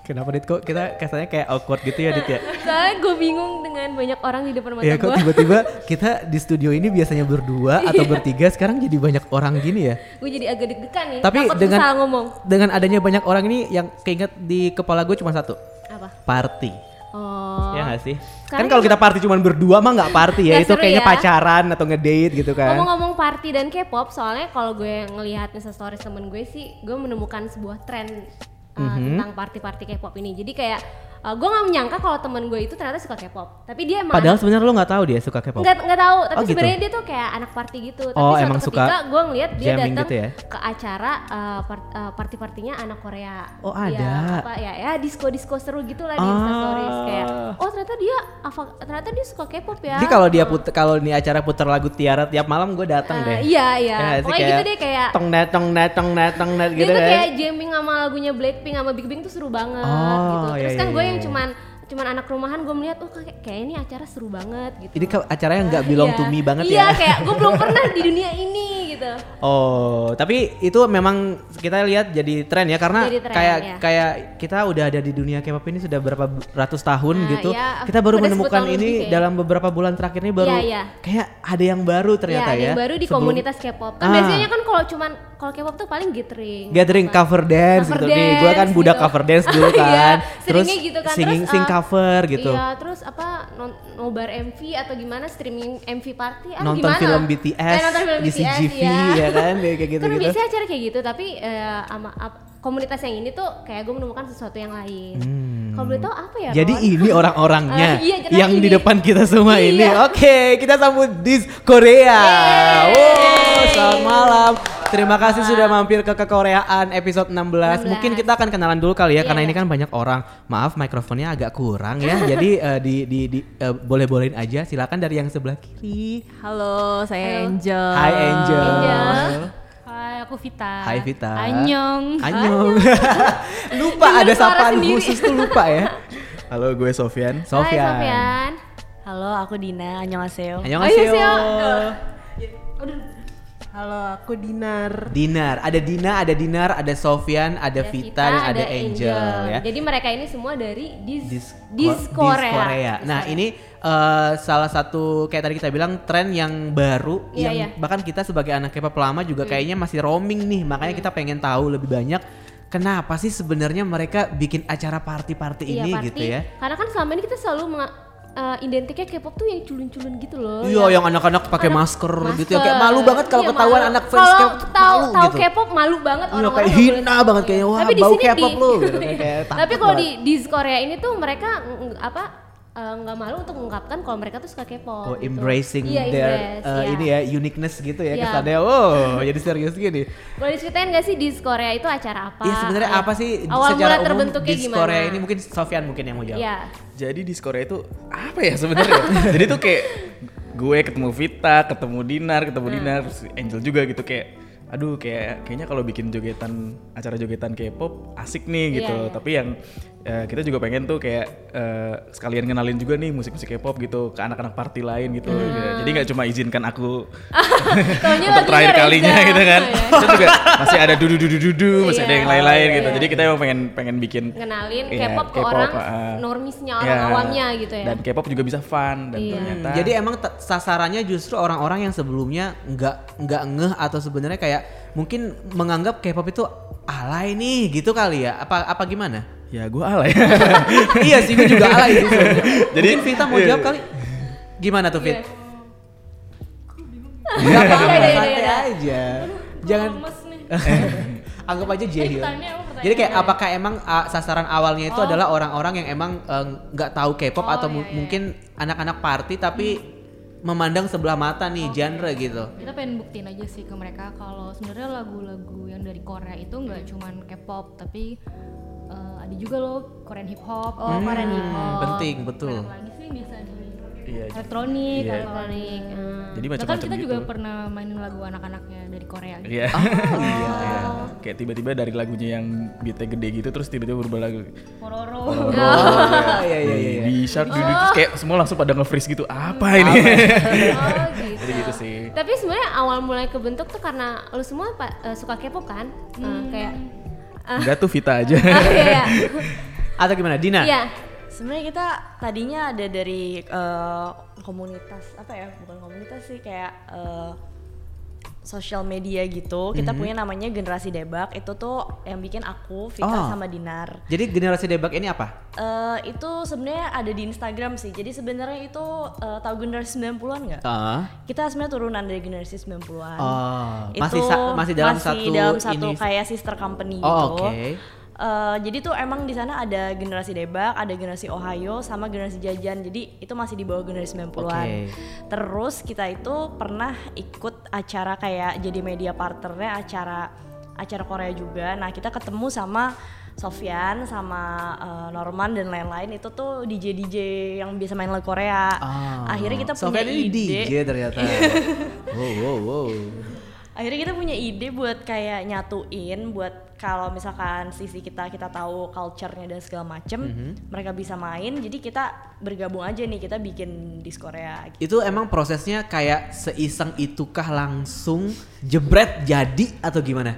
Kenapa Dit kok kita kesannya kayak awkward gitu ya Dit ya? Soalnya gue bingung dengan banyak orang di depan mata Iya kok gue. tiba-tiba kita di studio ini biasanya berdua Iya. atau bertiga sekarang jadi banyak orang gini ya. Gue jadi agak deg-degan nih. Tapi takut dengan salah ngomong. dengan adanya banyak orang ini yang keinget di kepala gue cuma satu, Apa? party. Oh. Ya gak sih? kan Sekarang kalau kita party cuma berdua mah nggak party ya, Nggak itu seru kayaknya ya. pacaran atau ngedate gitu kan. Ngomong-ngomong party dan K-pop, soalnya kalau gue ngelihat Insta stories temen gue sih, gue menemukan sebuah tren uh, Mhm. tentang party-party K-pop ini. Jadi kayak uh, gue nggak menyangka kalau temen gue itu ternyata suka K-pop. Tapi dia emang Padahal sebenarnya lo nggak tahu dia suka K-pop. nggak nggak tahu tapi Oh, gitu. sebenarnya dia tuh kayak anak party gitu tapi Oh, suatu emang suka ketika gue ngeliat dia jamming datang gitu ya? ke acara uh, part- uh, party-partinya anak Korea Oh, ya, ada. apa ya ya disco disco seru gitu lah di Instastories Ah. kayak oh ternyata dia apa- ternyata dia suka K-pop ya Jadi kalau dia put kalau ini acara putar lagu Tiara tiap malam gue datang Uh, deh. iya iya Ya, sih, pokoknya gitu deh kayak tong net tong net tong net tong net dia gitu tuh kan. kayak jamming sama lagunya Blackpink sama Big Bang tuh seru banget gitu Oh, terus iya, iya, kan gue iya, yang iya. cuman cuman anak rumahan gue melihat oh kayak kayak ini acara seru banget gitu Ini ke- acaranya nggak belong Iya. to me banget ya. iya kayak gue belum pernah di dunia ini gitu Oh, tapi itu memang kita lihat jadi tren ya karena Jadi tren, kayak ya. kayak kita udah ada di dunia K-pop ini sudah berapa bu- ratus tahun Nah, gitu. ya, kita baru udah 10 menemukan tahun ini lebih kayaknya. dalam beberapa bulan terakhir ini baru Iya, iya. kayak ada yang baru ternyata Iya, ada ya. yang baru di Sebelum komunitas K-pop. Kan Ah. biasanya kan kalau cuman kalau K-pop tuh paling gathering. gathering Apa? cover dance Iya, Cover gitu nih. Gue kan dance budak gitu. cover dance dulu Iya, kan. terus seringnya gitu kan. singing Terus, sing uh, cover gitu. Iya, terus apa non- nobar MV atau gimana streaming MV party ah, nonton gimana? film Eh, BTS, nonton film di BTS CGV ya. ya kan kayak Kan gitu-gitu. biasanya acara kayak gitu, tapi eh, ama- ap- komunitas yang ini tuh kayak gue menemukan sesuatu yang lain. Kalau boleh tahu apa ya? Hmm. Jadi Ron? ini orang-orangnya Eh, iya, jadi yang di ini. depan kita semua Iya. ini. Oke, kita sambut Dis Korea. Yeay. Wow, selamat malam. Terima kasih sudah mampir ke kekoreaan episode 16. 16. Mungkin kita akan kenalan dulu kali ya Iya, karena iya. ini kan banyak orang. Maaf mikrofonnya agak kurang ya. Jadi eh, di di, di eh, boleh-bolehin aja. Silakan dari yang sebelah kiri. Halo, saya Halo. Angel. Hai Angel. Angel. Hai, aku Vita. Ah, Hai Vita. Annyeong. Annyeong. lupa Dengar ada suara sapaan sendiri. khusus tuh lupa ya. Halo, gue Hai Sofyan. Sofyan. Sofyan. Halo, aku Dina. Annyeonghaseyo. Annyeonghaseyo. Annyeonghaseyo. Halo, aku Dinar. Dinar, ada Dina, ada Dinar, ada Sofyan, ada Ya, Ada Vita, dan ada Angel, ya. Jadi mereka ini semua dari dis dis, Dis Korea. Iya. Nah, ini eh, salah satu kayak tadi kita bilang tren yang baru yang Iya, iya. bahkan kita sebagai anak K-pop lama juga kayaknya masih roaming nih. Makanya Iya. kita pengen tahu lebih banyak kenapa sih sebenarnya mereka bikin acara party-party Iya, ini party. gitu ya. Karena kan selama ini kita selalu menga- eh, identiknya K-pop tuh yang culun-culun gitu loh. Iya, yang anak-anak pakai masker, gitu ya. Kayak masker. malu banget kalau Iya, ketahuan malu. anak fans Kalau K-pop tuh tahu malu tahu gitu. K-pop malu banget Iya, orang-orang. kayak nggak boleh hina tahu. banget kayaknya, wah, Tapi di bau sini K-pop di- lu, gitu kan, kayak Tapi takut kalau di banget. di Korea ini tuh mereka mm, apa eh, nggak malu untuk mengungkapkan kalau mereka tuh suka K-pop. Oh, gitu. embracing Iya, their embrace, uh, iya. ini ya uniqueness gitu ya Iya. kesannya. Wow, jadi serius gini. Boleh diceritain gak sih di Korea itu acara apa? Iya sebenarnya Kayak apa sih awal secara mula umum terbentuknya di gimana? Korea ini Ya. mungkin Sofyan mungkin yang mau jawab. Iya. Jadi di Korea itu apa ya sebenarnya? Jadi tuh kayak gue ketemu Vita, ketemu Dinar, ketemu Hmm. Dinar, terus Angel juga gitu kayak aduh kayak kayaknya kalau bikin jogetan acara jogetan K-pop asik nih gitu. Iya, iya. Tapi yang eh, kita juga pengen tuh kayak eh, sekalian kenalin juga nih musik-musik K-pop gitu ke anak-anak party lain gitu. Hmm. Jadi nggak cuma izinkan aku Taunya lagunya untuk terakhir Reza. kalinya gitu kan. Oh, ya. Terus juga masih ada dudu dudu dudu, masih ada Iya. yang lain-lain gitu. Iya. Jadi kita emang pengen pengen bikin Ngenalin Iya, K-pop ke orang ah. normisnya, orang Iya. awamnya gitu ya. Dan K-pop juga bisa fun dan Iya. ternyata Jadi emang te- sasarannya justru orang-orang yang sebelumnya nggak nggak ngeh atau sebenarnya kayak mungkin menganggap K-pop itu alay nih gitu kali ya. Apa apa gimana? ya gue alay. iya sih gue juga alay sih. sebenarnya. Jadi- mungkin Vita mau iya. jawab kali. Gimana tuh Fit? Iya, Gak apa-apa, iya, iya, santai iya. aja. Jangan anggap Eh, aja jahil. Jadi kayak apakah emang uh, sasaran awalnya Oh. itu adalah orang-orang yang emang uh, nggak tahu K-pop atau iya, mu- mungkin anak-anak party tapi Hmm. memandang sebelah mata nih Oh, genre iya. gitu. kita pengen buktiin aja sih ke mereka kalau sebenarnya lagu-lagu yang dari Korea itu nggak cuman K-pop tapi eh, ada juga loh Korean hip hop oh Korean hip hop Hmm, penting, betul. Apa lagi sih yang biasa di Iya. elektronik Iya. Oh, elektronik eh. Jadi bahkan macam-macam kita gitu. juga pernah mainin lagu anak-anaknya dari Korea gitu. Iya. Oh. Iya. Kayak tiba-tiba dari lagunya yang beatnya gede gitu terus tiba-tiba berubah lagu. Oh, Pororo Oh, iya iya iya. Di shark dudu terus kayak semua langsung pada nge-freeze gitu. Apa ini? Oh, gitu. Jadi gitu sih. Tapi sebenarnya awal mulai kebentuk tuh karena lu semua pa- eh, suka K-pop kan? Eh, kayak Enggak tuh Vita aja. Ah, iya, iya. Atau gimana? Dina? Iya. Oh, Sebenarnya kita tadinya ada dari eh, komunitas apa ya? Bukan komunitas sih kayak eh, social media gitu. Kita punya namanya Generasi Debak. Itu tuh yang bikin aku, Vika Oh. sama Dinar. Jadi generasi debak ini apa? Eh, itu sebenarnya ada di Instagram sih. Jadi sebenarnya itu eh, tahu generasi 90-an nggak? Ah. Heeh. Kita sebenarnya turunan dari generasi 90-an. Oh, Itu masih sa- masih dalam masih satu dalam satu ini- kayak sister company Oh, gitu. oke. Eh, jadi tuh emang di sana ada generasi Debak, ada generasi Ohio, sama generasi Jajan. Jadi itu masih di bawah generasi 90-an. Oke. Terus kita itu pernah ikut acara kayak jadi media partnernya acara acara Korea juga. Nah, kita ketemu sama Sofyan, sama eh, Norman dan lain-lain itu tuh DJ DJ yang biasa main lagu Korea. Ah, Akhirnya kita punya Sofian ini ide. Iya. DJ ternyata. wow, wow, wow. Akhirnya kita punya ide buat kayak nyatuin buat kalau misalkan sisi kita kita tahu culture-nya dan segala macem, mereka bisa main. Jadi kita bergabung aja nih kita bikin di Korea. gitu. Itu emang prosesnya kayak seiseng itukah langsung jebret jadi atau gimana?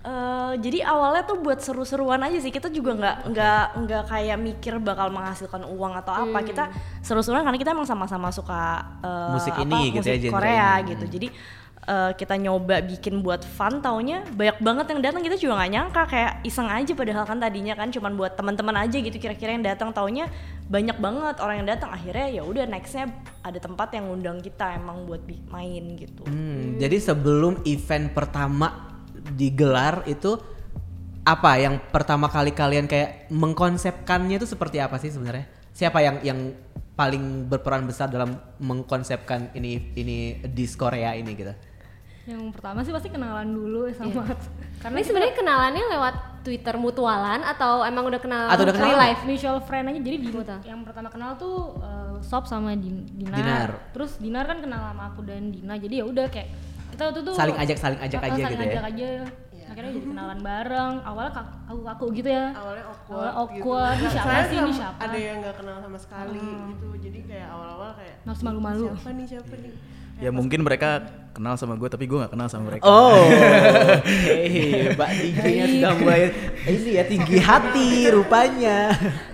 Eh, jadi awalnya tuh buat seru-seruan aja sih. Kita juga nggak nggak nggak kayak mikir bakal menghasilkan uang atau apa. Hmm. Kita seru-seruan karena kita emang sama-sama suka eh, Musik apa, ini gitu ya, musik genre Korea ini. gitu. Jadi eh, kita nyoba bikin buat fun taunya banyak banget yang datang kita juga nggak nyangka kayak iseng aja padahal kan tadinya kan cuman buat teman-teman aja gitu kira-kira yang datang taunya banyak banget orang yang datang akhirnya ya udah nextnya ada tempat yang ngundang kita emang buat bi- main gitu. Hmm, Jadi sebelum event pertama digelar itu apa yang pertama kali kalian kayak mengkonsepkannya itu seperti apa sih sebenarnya? Siapa yang yang paling berperan besar dalam mengkonsepkan ini ini di Korea ini gitu? Yang pertama sih pasti kenalan dulu ya sama karena Ini kita sebenarnya kenalannya lewat Twitter mutualan atau emang udah kenal Atau udah real kenalan? life? mutual friend aja jadi di- Betul. yang pertama kenal tuh eh, Sop sama Din- Dinar. Dinar. Terus Dinar kan kenal sama aku dan Dina. Jadi ya udah kayak kita waktu itu Saling ajak- saling ajak Eh, aja saling gitu ya. ajak aja. Akhirnya jadi kenalan bareng. Awalnya aku aku gitu ya. awalnya awkward, Awalnya awkward. gitu. Ini siapa Saya sih? sama- Ini siapa? ada yang nggak kenal sama sekali gitu jadi kayak awal-awal kayak Harus malu-malu. siapa nih siapa nih Ya mungkin mereka kenal sama gue tapi gue nggak kenal sama mereka. Oh, hei, Mbak DJ-nya sudah mulai ini ya tinggi hati rupanya.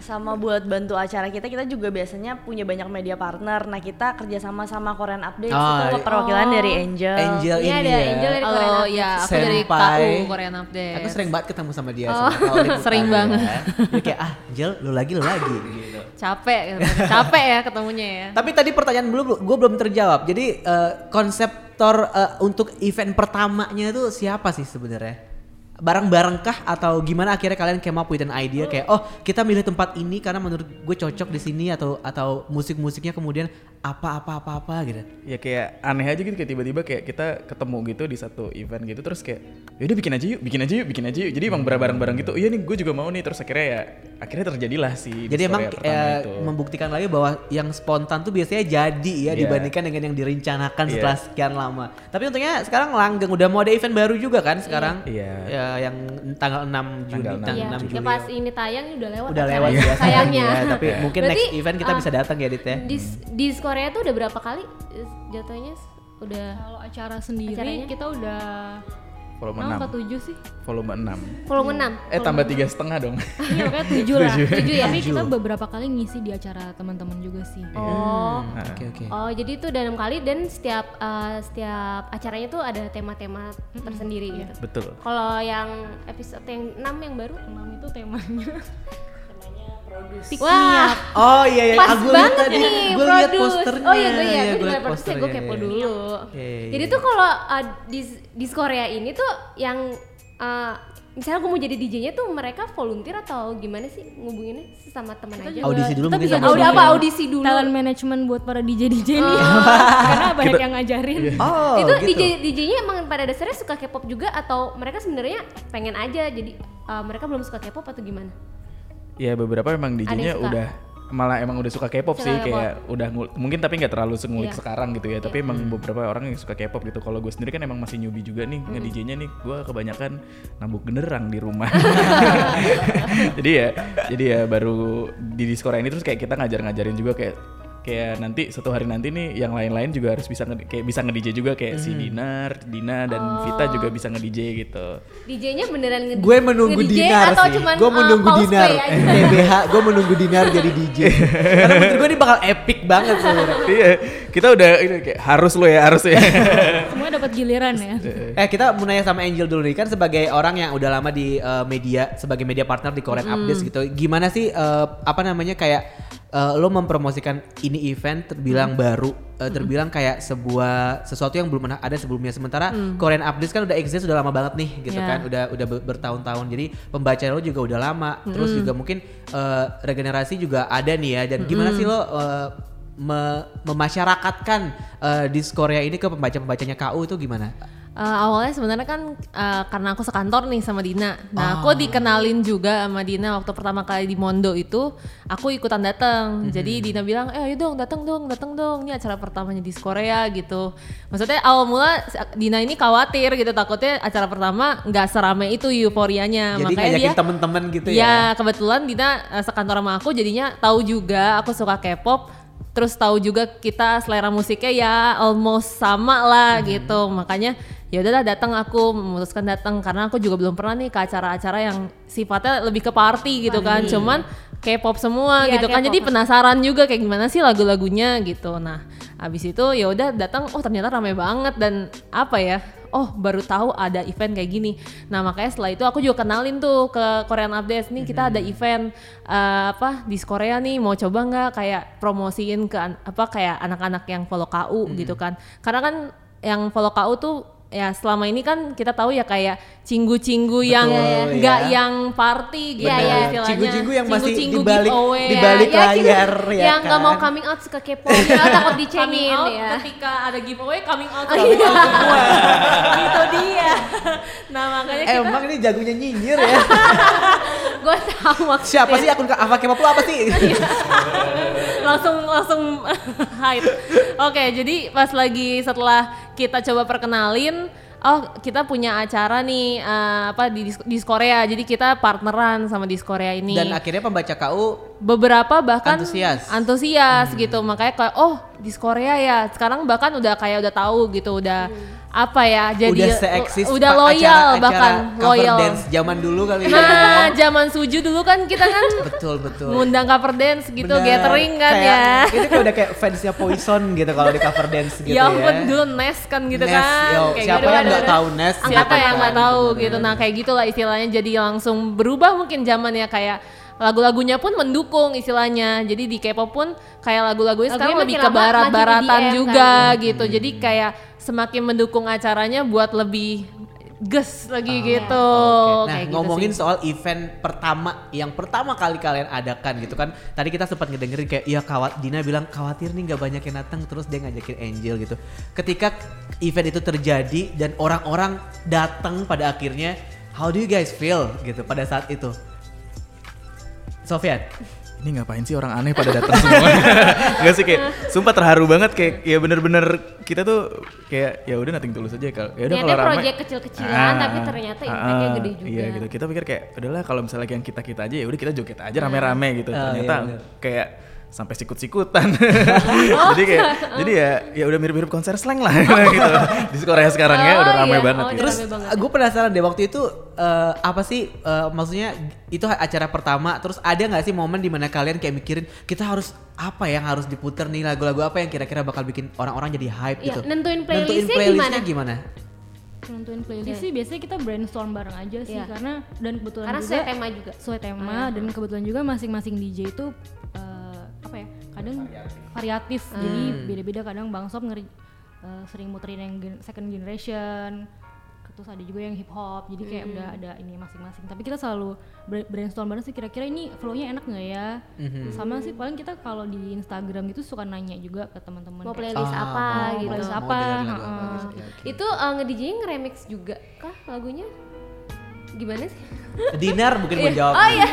sama buat bantu acara kita kita juga biasanya punya banyak media partner nah kita kerjasama sama Korean Update Ah, itu perwakilan dari Angel, Angel Iya, ini ada ya. Angel dari Korea. Oh iya, aku dari Senpai. KU Korean Update. Aku sering banget ketemu sama dia. Oh, sama Paul sering Liputan, banget. ya. Dia kayak ah, Angel, lu lagi lu lagi gitu. capek, gitu. capek ya ketemunya ya. Tapi tadi pertanyaan belum, gue belum terjawab. Jadi eh, konseptor eh, untuk event pertamanya itu siapa sih sebenarnya? Bareng-bareng kah atau gimana akhirnya kalian came up with an idea kayak oh kita milih tempat ini karena menurut gue cocok di sini atau atau musik-musiknya kemudian apa apa apa apa gitu. Ya kayak aneh aja gitu kayak tiba-tiba kayak kita ketemu gitu di satu event gitu terus kayak yaudah bikin aja yuk, bikin aja yuk, bikin aja yuk. Jadi emang bareng-bareng gitu. Iya nih gue juga mau nih terus akhirnya ya akhirnya terjadilah sih. Jadi emang eh, membuat membuktikan lagi bahwa yang spontan tuh biasanya jadi ya Iya. dibandingkan dengan yang direncanakan Iya. setelah sekian lama. Tapi untungnya sekarang langgeng udah mau ada event baru juga kan sekarang. Iya. Ya, yang tanggal 6 Juni, Tanggal tanggal 6, 6 Iya, Juni. Juli. ya pas ini tayang udah lewat. Udah acaranya, lewat ya. Sayangnya. Iya, tapi mungkin Berarti, next event kita ah, bisa datang ya Dit ya. Di di Korea tuh udah berapa kali eh, jatuhnya s- udah Kalau acara sendiri Acaranya? kita udah volume 6 atau 6. 7 sih? Volume volume 6. Eh tambah tiga setengah dong. Iya, pokoknya 7 lah. Tujuh. 7 ya. Tapi Tujuh. kita beberapa kali ngisi di acara teman-teman juga sih. 6. Oh. Oke oke. Oh, jadi itu udah enam kali dan setiap eh, setiap acaranya tuh ada tema-tema tersendiri gitu. Nah, Betul. Kalau yang episode yang 6 yang baru 6 itu temanya Wah, Oh iya iya, Ah. pas aku lihat banget tadi, nih gue lihat produce. posternya. Oh iya gue ya, gue gua juga liat posternya, gue kepo iya. dulu. Oke. Jadi tuh kalau uh, di di Korea ini tuh yang uh, misalnya gue mau jadi DJ-nya tuh mereka volunteer atau gimana sih ngubunginnya sama teman aja? juga- Audisi dulu kita mungkin bisa sama Audi Sofian. apa audisi dulu? talent management buat para DJ DJ nih. Karena banyak yang ngajarin. Oh, itu gitu. DJ DJ-nya emang pada dasarnya suka K-pop juga atau mereka sebenarnya pengen aja jadi uh, mereka belum suka K-pop atau gimana? Ya beberapa emang Ada yang DJ-nya suka. udah malah emang udah suka K-pop sih Suka K-pop. kayak udah ngul- mungkin tapi nggak terlalu sengulik Iya. sekarang gitu ya tapi emang beberapa orang yang suka K-pop gitu kalau gue sendiri kan emang masih newbie juga nih nge Hmm. DJ-nya nih gue kebanyakan nambuk genderang di rumah jadi ya jadi ya baru di Discord ini terus kayak kita ngajar-ngajarin juga kayak kayak nanti satu hari nanti nih yang lain-lain juga harus bisa nge- kayak bisa nge-DJ juga kayak si Dinar, Dina dan Oh. Vita juga bisa nge-DJ gitu. DJ-nya beneran nge Gue menunggu nge-DJ dinar atau sih. Cuman, Gue uh, menunggu pause dinar. play aja? TBH, gue menunggu dinar jadi DJ. Karena menurut gue ini bakal epic banget sebenarnya. Iya, kita udah ini kayak harus lo ya, harus ya. Semuanya dapat giliran ya. Eh kita mau nanya sama Angel dulu nih kan sebagai orang yang udah lama di eh, media sebagai media partner di Korean Updates gitu. Gimana sih eh, apa namanya kayak eh, lo mempromosikan ini event terbilang baru eh, terbilang kayak sebuah sesuatu yang belum pernah ada sebelumnya sementara Korean Updates kan udah exist udah lama banget nih gitu Ya. kan udah udah ber- bertahun-tahun jadi pembaca lo juga udah lama terus juga mungkin eh, regenerasi juga ada nih ya dan gimana sih lo eh, me- memasyarakatkan eh, di Korea ini ke pembaca-pembacanya KU itu gimana? Eh, awalnya sebenarnya kan eh, karena aku sekantor nih sama Dina. Nah, aku dikenalin juga sama Dina waktu pertama kali di Mondo itu, aku ikutan datang. Jadi Dina bilang, "Eh, ayo dong, datang dong, datang dong. Ini acara pertamanya di Korea gitu." Maksudnya awal mula si- Dina ini khawatir gitu, takutnya acara pertama nggak serame itu euforianya. Jadi Makanya ngajakin dia temen-temen gitu Iya, ya. kebetulan Dina eh, sekantor sama aku jadinya tahu juga aku suka K-pop, terus tahu juga kita selera musiknya ya almost sama lah gitu. Makanya ya udahlah datang aku memutuskan datang karena aku juga belum pernah nih ke acara-acara yang sifatnya lebih ke party gitu kan. Cuman K-pop semua Iya, gitu kan. K-pop. Jadi penasaran juga kayak gimana sih lagu-lagunya gitu. Nah, habis itu ya udah datang oh ternyata ramai banget dan apa ya? Oh, baru tahu ada event kayak gini. Nah, makanya setelah itu aku juga kenalin tuh ke Korean Updates nih kita Mhm. ada event eh, apa di Korea nih mau coba nggak kayak promosiin ke an- apa kayak anak-anak yang follow KU Mhm. gitu kan. Karena kan yang follow KU tuh ya selama ini kan kita tahu ya kayak cinggu-cinggu yang Betul, nggak ya. yang party gitu Benar. ya istilahnya. Cinggu-cinggu yang masih Cinggu-cinggu dibalik- giveaway. dibalik Ya, cinggu- layar, ya gitu. yang nggak mau kan? coming out suka kepo ya, takut coming dicengin out Oh, iya. ya ketika ada giveaway coming out coming out semua. gitu dia nah makanya kita Emang ini jagonya nyinyir ya. gue tahu maksudnya Siapa sih akun Ava K-pop lo apa sih? langsung langsung hype oke jadi pas lagi setelah kita coba perkenalin Oh, kita punya acara nih eh, apa di Dis- Dis Korea. Jadi kita partneran sama Dis Korea ini. Dan akhirnya pembaca KU beberapa bahkan Antusias. Hmm. antusias gitu makanya kayak oh di Korea ya sekarang bahkan udah kayak udah tahu gitu udah apa ya jadi udah se-eksis udah pa- loyal acara-acara bahkan cover loyal dance zaman dulu kali ya. nah zaman suju dulu kan kita kan Betul betul. ngundang cover dance gitu Bener. gathering kan Kayak- ya Itu kayak udah kayak fansnya Poison gitu kalau di cover dance gitu ya ya. ampun dulu Nes kan gitu Nest, kan yo, Kayak siapa gitu yang kan, nggak ada- tahu Nest, angkatan siapa yang nggak kan, tahu bener. gitu nah kayak gitulah istilahnya jadi langsung berubah mungkin zamannya kayak lagu-lagunya pun mendukung istilahnya jadi di K-pop pun kayak lagu-lagunya sekarang Lagunya lebih makin ke lama barat-baratan makin EDM juga kan. gitu Hmm. jadi kayak semakin mendukung acaranya buat lebih ges lagi gitu Ah, Oke, Nah Kayak gitu ngomongin sih. soal event pertama yang pertama kali kalian adakan gitu kan. Tadi kita sempat ngedengerin kayak iya kawat Dina bilang khawatir nih nggak banyak yang datang terus dia ngajakin Angel gitu. Ketika event itu terjadi dan orang-orang datang pada akhirnya, how do you guys feel gitu pada saat itu? Sofian, Ini ngapain sih orang aneh pada datang semua? Gak sih kayak sumpah terharu banget kayak ya bener-bener kita tuh kayak ya udah nothing tulus aja kalau ya udah Niatnya kalau ramai. Ah, project kecil-kecilan, tapi ternyata impact-nya gede juga. Iya gitu. Kita pikir kayak udahlah kalau misalnya yang kita kita aja ya udah kita joget aja rame-rame gitu. Ah, ternyata iya, bener. kayak sampai sikut-sikutan. jadi kayak Oh. jadi ya ya udah mirip-mirip konser slang lah gitu. Di Korea sekarang ya udah Oh, ramai iya. banget Oh, gitu. terus rame banget gue penasaran deh waktu itu eh, apa sih eh, maksudnya itu acara pertama terus ada nggak sih momen dimana kalian kayak mikirin kita harus apa ya yang harus diputer nih lagu-lagu apa yang kira-kira bakal bikin orang-orang jadi hype Iya, gitu nentuin playlistnya playlistnya Nentuin playlist sih biasanya kita brainstorm bareng aja sih Iya. karena dan kebetulan karena juga sesuai tema juga sesuai Ah, tema ya. dan kebetulan juga masing-masing DJ itu eh, apa ya kadang variatif Hmm. jadi beda-beda kadang Bang Sob ngeri eh, sering muterin yang gen- second generation terus ada juga yang hip hop jadi Hmm. kayak udah ada ini masing-masing tapi kita selalu bra- brainstorm bareng sih kira-kira ini flow-nya enak nggak ya Hmm. sama sih paling kita kalau di Instagram gitu suka nanya juga ke teman-teman mau kayak, playlist Ah, apa mau gitu Ah. playlist mau apa, dengerin lagu apa, heeh. oke, oke. itu uh, nge-DJ nge-remix juga kah lagunya gimana sih Iya. Dinar mungkin gue jawab oh iya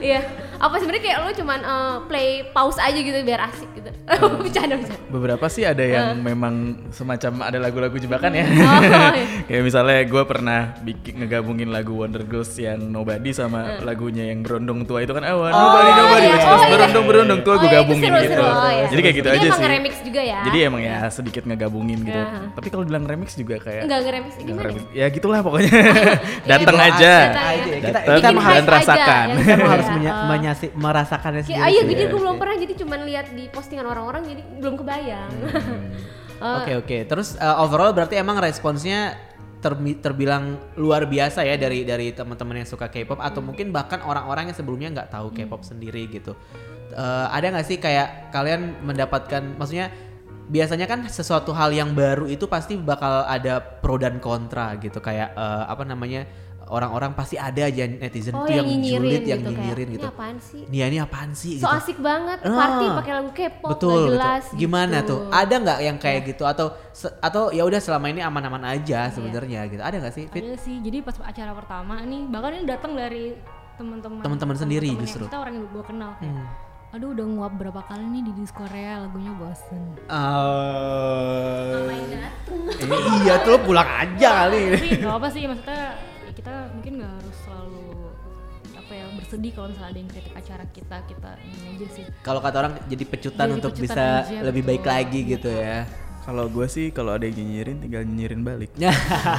iya apa sebenarnya kayak lu cuman eh, play pause aja gitu biar asik gitu bercanda bercanda Beberapa sih ada yang memang semacam ada lagu-lagu jebakan ya. Eh. Oh, iya. Kayak misalnya gue pernah bikin ngegabungin lagu Wonder Girls yang Nobody sama lagunya yang berondong tua itu kan ah Nobody Eh. Nobody iya. terus Oh, iya. berondong berondong tua Oh, gue iya, itu gabungin seru, gitu. seru. Oh, iya. Jadi kayak gitu Jadi aja emang sih. nge-remix juga ya? Jadi emang ya sedikit ngegabungin gitu. Tapi kalau bilang remix juga kayak Nggak nge-remix, gimana nge-remix. Ya gitulah pokoknya. Datang Iya, aja. datang aja. Kita- Datang kita dan mah harus- rasakan. aja, ya. Kita mau harus Iya. menya- menyasi- merasakannya Kayak, sendiri. ah, iya, sih. jadi gue belum pernah jadi cuman lihat di postingan orang-orang jadi belum kebayang. Eh, Oke oke. Terus uh, overall berarti emang responsnya terbi- terbilang luar biasa ya dari dari teman-teman yang suka K-pop atau mungkin bahkan orang-orang yang sebelumnya nggak tahu Hmm. K-pop sendiri gitu. Eh, ada nggak sih kayak kalian mendapatkan maksudnya biasanya kan sesuatu hal yang baru itu pasti bakal ada pro dan kontra gitu kayak eh, apa namanya orang-orang pasti ada aja netizen Oh, tuh yang yang, nyinyirin julid yang gitu, kayak, nyinyirin "Ini gitu. apaan sih?" Nia ini apaan sih? so gitu asik banget Ah. party pakai lagu K-pop nggak betul, jelas. betul. Gimana gitu. tuh? Ada nggak yang kayak Iya. gitu atau se- atau ya udah selama ini aman-aman aja sebenarnya gitu. Ada nggak sih Fit? Ada Iya sih. Jadi pas acara pertama nih, bahkan ini datang dari teman-teman Teman-teman sendiri teman-teman yang justru. Hmm. Kita orang yang gue kenal kayak. Aduh udah nguap berapa kali nih di dis Korea lagunya bosen. Eh, iya tuh pulang aja kali. Tapi gak apa sih maksudnya ya kita mungkin gak harus selalu apa ya bersedih kalau misalnya ada yang kritik acara kita kita ini aja sih. Kalau kata orang jadi pecutan Jadi untuk pecutan bisa aja, lebih betul. baik lagi gitu ya. Kalau gue sih kalau ada yang nyinyirin tinggal nyinyirin balik.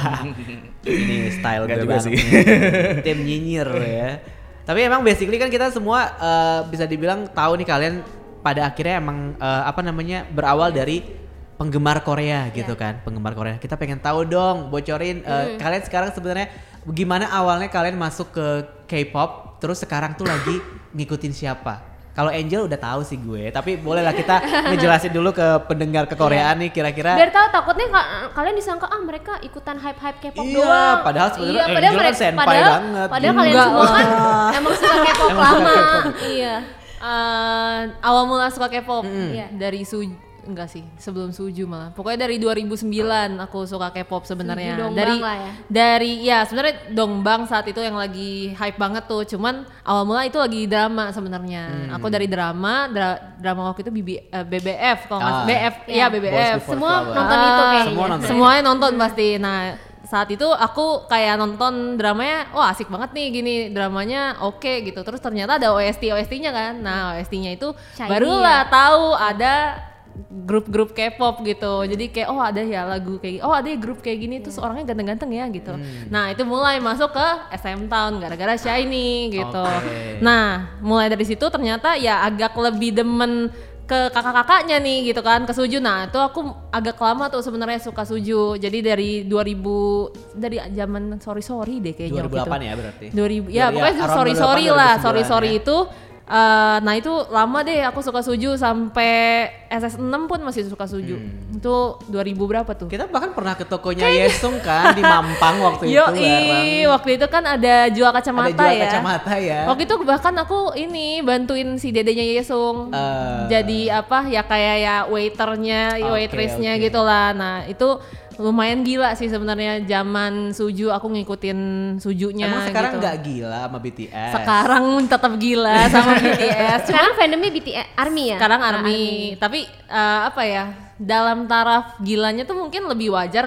Ini style Nggak gue juga banget sih. nih. Tim nyinyir ya. Tapi emang basically kan kita semua eh, bisa dibilang tahu nih kalian pada akhirnya emang eh, apa namanya berawal dari penggemar Korea Iya. gitu kan, penggemar Korea. Kita pengen tahu dong, bocorin eh, Mm. kalian sekarang sebenarnya gimana awalnya kalian masuk ke K-pop, terus sekarang tuh lagi ngikutin siapa? Kalau Angel udah tahu sih gue, tapi bolehlah kita ngejelasin dulu ke pendengar kekoreaan nih kira-kira Biar tahu takutnya ka- kalian disangka ah mereka ikutan hype-hype K-pop Iya, doang. padahal sebenarnya Angel kan senpai banget. Padahal Enggak kalian semua kan lah. emang suka K-pop Emang suka lama. K-pop. Iya. Eh, awal mula suka K-pop Iya. dari Suju enggak sih sebelum Suju malah pokoknya dari 2009 aku suka K-pop Suju sebenarnya Dongbang dari lah ya. dari ya sebenarnya Dongbang saat itu yang lagi hype banget tuh cuman awal mula itu lagi drama Hmm. sebenarnya aku dari drama dra- drama waktu itu BB, eh, BBF kalau nggak Ah. BF ya Iya. BBF Before Semua Flower. nonton Ah, itu kayaknya. Semua nonton. Semuanya nonton pasti. Nah, saat itu aku kayak nonton dramanya, wah asik banget nih gini dramanya oke gitu. Terus ternyata ada OST OST-nya kan. Nah, OST-nya itu Shiny barulah tahu ada grup-grup K-pop gitu. Jadi kayak oh ada ya lagu kayak oh ada ya grup kayak gini terus orangnya ganteng-ganteng ya gitu. Nah, itu mulai masuk ke SM Town gara-gara Shiny gitu. Oke. Nah, mulai dari situ ternyata ya agak lebih demen ke kakak-kakaknya nih gitu kan ke Suju. Nah, itu aku agak lama tuh sebenarnya suka Suju. Jadi dari 2000 dari zaman sorry sorry deh kayaknya Iya, waktu itu. 2008 ya berarti. iya, 2000 ya Dari pokoknya around sorry 2008, sorry lah 2009 sorry sorry ya. itu eh, nah itu lama deh aku suka suju sampai SS6 pun masih suka suju Hmm. itu 2000 berapa tuh Kita bahkan pernah ke tokonya Yesung kan di Mampang waktu itu. Yoi, bareng. waktu itu kan ada jual kacamata Ada jual ya. kacamata ya. Waktu itu bahkan aku ini bantuin si dedenya Yesung. Eh. Jadi apa ya kayak ya waiternya, ya Oke, waitressnya oke. gitu lah. Nah, itu lumayan gila sih sebenarnya zaman Suju aku ngikutin Sujunya Emang sekarang gitu. nggak gila sama BTS? Sekarang tetap gila sama BTS. Cuma Sekarang fandomnya BTS Army Iya, ya. sekarang Ah, army, tapi eh, apa ya dalam taraf gilanya tuh mungkin lebih wajar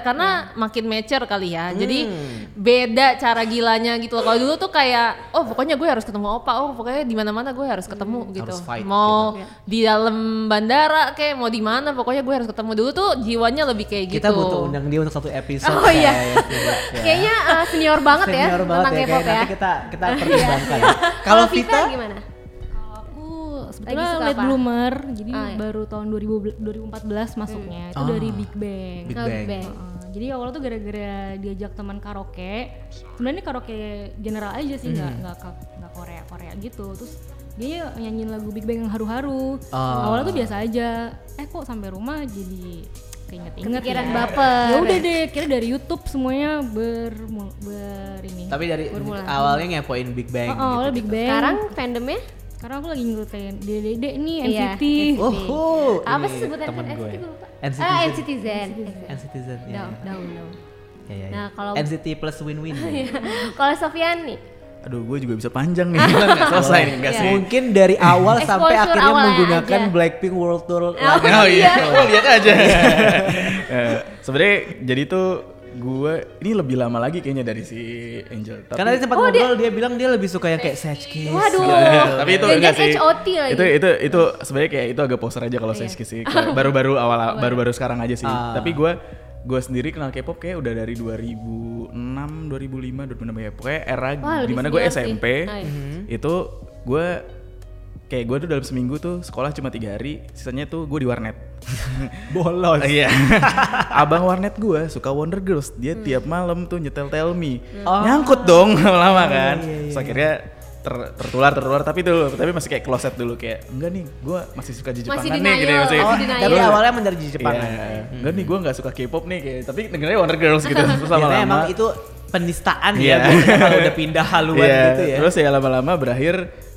Iya. karena makin mature kali ya jadi Hmm. beda cara gilanya gitu loh kalau dulu tuh kayak oh pokoknya gue harus ketemu opa oh pokoknya di mana mana gue harus ketemu gitu Hmm, Harus fight mau di dalam bandara kayak mau di mana pokoknya gue harus ketemu dulu tuh jiwanya lebih kayak gitu Kita butuh undang dia untuk satu episode. Oh, iya. Kayaknya Kayaknya eh, senior banget ya Senior banget tentang ya, K-pop kayak ya. nanti kita kita pertimbangkan. ya. Kalau Vita, gimana? Kalau aku Lagi sebetulnya suka late apa? bloomer, jadi Ah, iya. baru tahun 2000, 2014 masuknya. Itu Ah. dari Big Bang. Big Oh, Bang. Bang. Heeh, jadi awalnya tuh gara-gara diajak teman karaoke. Sebenarnya ini karaoke general aja sih, Hmm. nggak nggak ke- nggak Korea Korea gitu. Terus dia nyanyiin lagu Big Bang yang haru-haru. Ah. Awalnya tuh biasa aja. Eh kok sampai rumah jadi keinget-inget. Kepikiran ya. baper. Ya udah deh, kira dari YouTube semuanya ber ber ini. tapi dari Bermula. awalnya ngepoin Big Bang. gitu. Oh, awalnya Big Bang. Sekarang fandomnya Karena aku lagi ngikutin Dede nih Iya, NCT. Oh, oh, ini apa sih sebutan temen gue. NCT gue lupa. NCT. Ah, NCTzen. NCTzen, ya. Down, down, down. Ya, ya, ya. Nah, kalau- NCT plus win-win. ya. Kalau Sofian nih, aduh gue juga bisa panjang nih Gila, nggak selesai nih nggak Iya. sih Iya. Mungkin dari awal sampai Exposure akhirnya awalnya menggunakan aja. Blackpink World Tour. Oh, lagi. Oh iya, lo lihat aja. Eh, Sebenarnya jadi tuh gue ini lebih lama lagi kayaknya dari si Angel. Tapi, Iya, Karena tadi sempat ngobrol dia bilang dia lebih suka yang kayak Sage Kiss. Oh, Waduh. Eh, tapi itu Jangan enggak sih. HOT lagi. Itu itu itu sebenarnya kayak itu agak poser aja kalau saya sih. Kayak Iya. Baru-baru awal baru-baru sekarang aja sih. Ah. Tapi gue gue sendiri kenal K-pop kayak udah dari 2006, 2005, 2006 ya. Pokoknya era Wah, lebih dimana gue senior sih. SMP Ah, iya. Mhm. itu gue kayak gue tuh dalam seminggu tuh sekolah cuma tiga hari, sisanya tuh gue di warnet. Bolos. Iya. Abang warnet gue suka Wonder Girls. Dia tiap malam tuh nyetel Tell Me. Nyangkut dong lama-lama kan. Terus akhirnya ter- tertular tertular tapi dulu tapi masih kayak closet dulu kayak enggak nih gue masih suka jejepangan Masih nih gitu ya, denial, masih Oh, Masih denial. tapi awalnya Iya. Hmm. emang dari Jepang. ya. Jepang eh, enggak nih gue nggak suka K-pop nih kayak tapi dengernya Wonder Girls gitu terus Biasanya emang lama-lama itu penistaan Iya. ya biasanya kalau udah pindah haluan Iya, gitu ya. Terus ya lama-lama berakhir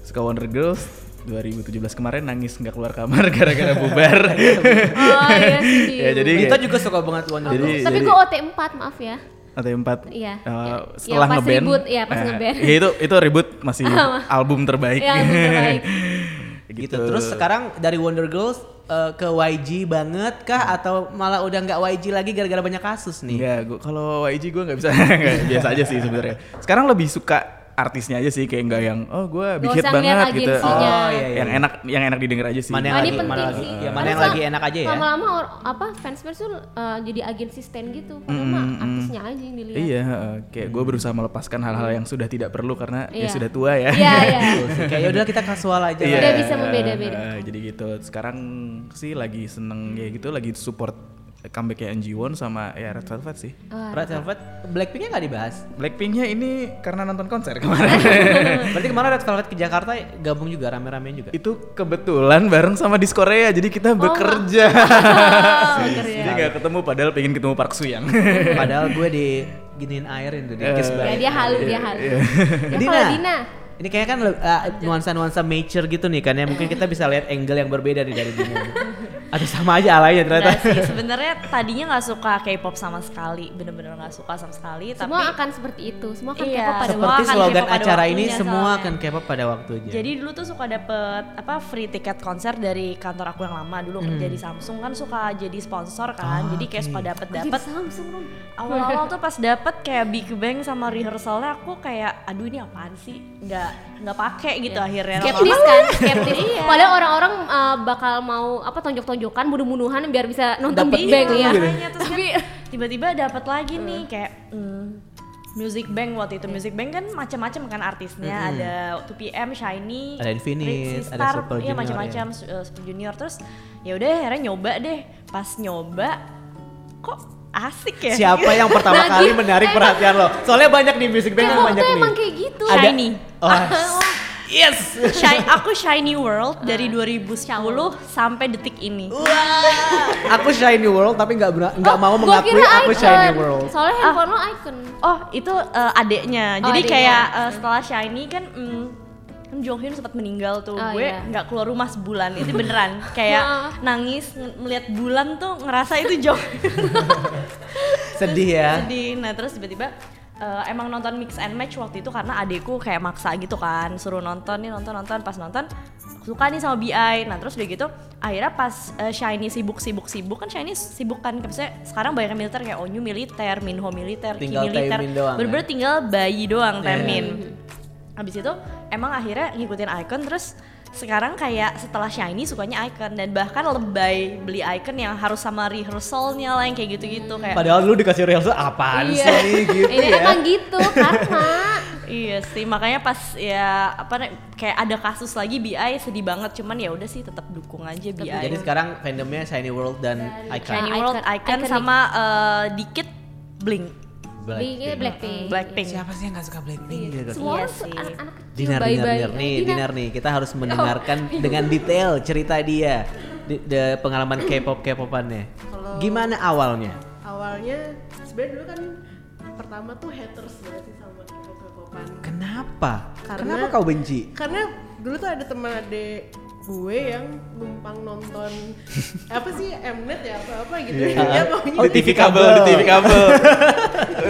suka Wonder Girls 2017 kemarin nangis nggak keluar kamar gara-gara bubar. Oh iya sih. ya jadi Dito kayak- juga suka banget Wonder Jadi- Girls. Tapi jadi- gue OT4 maaf ya. atau empat Iya. eh, Iya, setelah pas ngeband ribut, iya, pas eh, ngeband. ya itu itu ribut masih album terbaik Iya, album terbaik. gitu. Gitu. Terus sekarang dari Wonder Girls eh, ke YG banget kah atau malah udah nggak YG lagi gara-gara banyak kasus nih? Enggak, gua kalau YG gue nggak bisa nggak, biasa aja sih sebenarnya. Sekarang lebih suka artisnya aja sih kayak nggak yang oh gue big Gak hit usah banget ngeliat gitu. agensinya. Oh, iya, iya. Yang enak yang enak didengar aja sih. Mana yang Nah, ini lagi, penting mana lagi, sih. ya, mana Karena yang soal- lagi enak aja ya. Lama-lama or- apa fans fans tuh eh, jadi agensi stand gitu. Padahal mah artisnya aja yang dilihat. Iya, heeh. kayak gue berusaha melepaskan hal-hal yang sudah tidak perlu karena ya Iya. sudah tua Iya, ya. iya. Betul Gitu sih. Kayak udah kita kasual aja. lah. Iya, Udah bisa membeda-beda. eh, jadi gitu. Sekarang sih lagi seneng ya gitu, lagi support comebacknya NG1 sama ya Red Velvet sih. Oh. Red Velvet, Blackpinknya nggak dibahas. Blackpinknya ini karena nonton konser kemarin. Berarti kemarin Red Velvet ke Jakarta gabung juga rame-ramean juga. itu kebetulan bareng sama di Korea, jadi kita Oh. bekerja. jadi nggak ketemu, padahal pengen ketemu Park Suyang. Padahal gue di giniin airin tuh di kiss Ya balik. dia halu, dia halu. Iya. Ya Dina. kalau Dina, Ini kayaknya kan uh, nuansa-nuansa nature gitu nih kan ya. Mungkin kita bisa lihat angle yang berbeda nih dari Dina. gitu. Atau sama aja alanya ternyata. Nggak sih, sebenarnya tadinya nggak suka K-pop sama sekali, bener-bener nggak suka sama sekali. Tapi semua akan seperti itu. Semua akan Iya. kepo pada Seperti Seperti Semua akan slogan K-pop pada acara ini waktunya semua soalnya. akan K-pop pada waktunya. Jadi dulu tuh suka dapet apa free tiket konser dari kantor aku yang lama Hmm. dulu kerja di Samsung kan suka jadi sponsor Ah, kan. jadi kayak suka dapet dapet. Samsung Rom. Awal-awal tuh pas dapet kayak Big Bang sama rehearsalnya aku kayak aduh ini apaan sih? Nggak nggak pakai gitu akhirnya. Skeptis Lama-lama- kan, skeptis. Iya. Padahal orang-orang eh, bakal mau apa tonjok-tonjokan, bunuh-bunuhan biar bisa nonton Dapet Big Bang itu ya. gitu. Makanya terus kan tiba-tiba dapat lagi nih kayak mm, Music Bank waktu Iya. itu Music Bank kan macam-macam kan artisnya ada 2PM, Shiny, Ada Infinite, Rizky ada Star, Super iya Junior, macam-macam su- uh, Super Junior terus ya udah akhirnya nyoba deh pas nyoba kok asik ya Siapa yang pertama Nah, kali gitu. menarik Emang- perhatian lo? Soalnya banyak di music Iya, bank yang K-pop banyak Eh, tuh nih. emang kayak gitu. Ada- Shiny. Oh, yes. Shi- aku Shiny World dari 2010 sampai detik ini aku shiny world tapi nggak bera- nggak Oh, mau gua mengakui kira aku icon. shiny world. Ah. Soalnya handphone lo icon. Oh itu uh, adeknya. Oh, Jadi adeknya. kayak uh, setelah Shiny kan mm, Kim Jong Hyun sempat meninggal tuh. Oh, gue iya. nggak keluar rumah sebulan. Itu beneran kayak nangis nge- melihat bulan tuh ngerasa itu Jong Hyun. Sedih ya. Sedih. Nah terus tiba-tiba uh, emang nonton mix and match waktu itu karena adekku kayak maksa gitu kan suruh nonton nih nonton nonton pas nonton suka nih sama BI nah terus udah gitu akhirnya pas uh, Shiny sibuk sibuk sibuk kan Shiny sibuk kan maksudnya sekarang banyak yang militer kayak Onyu militer Minho militer Ki Tinggal militer Taemin doang, bener-bener kan? tinggal bayi doang Temin Habis itu emang akhirnya ngikutin Icon terus sekarang kayak setelah Shiny sukanya Icon dan bahkan lebay beli Icon yang harus sama rehearsalnya lah yang kayak gitu-gitu kayak Padahal lu dikasih rehearsal apaan Iya. sih gitu Ini ya. emang gitu karena Iya sih, makanya pas ya apa nih, kayak ada kasus lagi BI sedih banget, cuman ya udah sih tetap dukung aja BI. Iya, Jadi sekarang fandomnya Shiny World dan Shiny Icon. Icon- World Icon, Iconic. sama eh, dikit Blink, di Blackpink. Blackpink. Blackpink. Siapa sih yang gak suka Blackpink? gitu? Iya. Semua Iya orang tuh sih. anak-anak kecil Dinar, bayi-bayi. dinar, dinar nih, Eh, dinar nih. Kita harus mendengarkan dengan detail cerita dia, di, de- pengalaman K-pop K-popannya. Gimana awalnya? Awalnya sebenarnya dulu kan pertama tuh haters banget sih sama K-pop K-popan. Kenapa? Karena- Kenapa kau benci? Karena dulu tuh ada teman adik gue yang numpang nonton apa sih Mnet ya apa apa gitu iya. ya pokoknya Oh, di TV kabel, di TV kabel.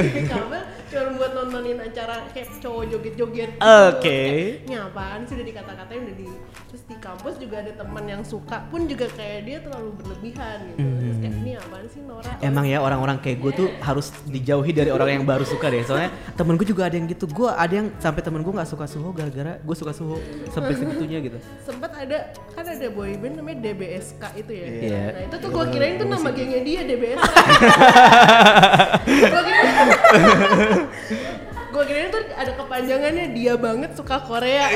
di kabel cuma buat nontonin acara kayak cowok joget-joget gitu. Oke. Kayak, "Ini apaan sih udah dikata-katain udah di terus di kampus juga ada teman yang suka pun juga kayak dia terlalu berlebihan gitu terus kayak ini apaan sih Nora Emang ya orang-orang kayak gue tuh harus dijauhi dari orang yang baru suka deh. Soalnya temen gue juga ada yang gitu. Gue ada yang sampai temen gue nggak suka suho gara-gara gue suka suho sampai segitunya gitu. sempet ada kan ada boy band namanya DBSK itu ya Iya. nah itu tuh gue kirain tuh nama gengnya dia DBSK gue kirain gue kirain tuh ada kepanjangannya dia banget suka Korea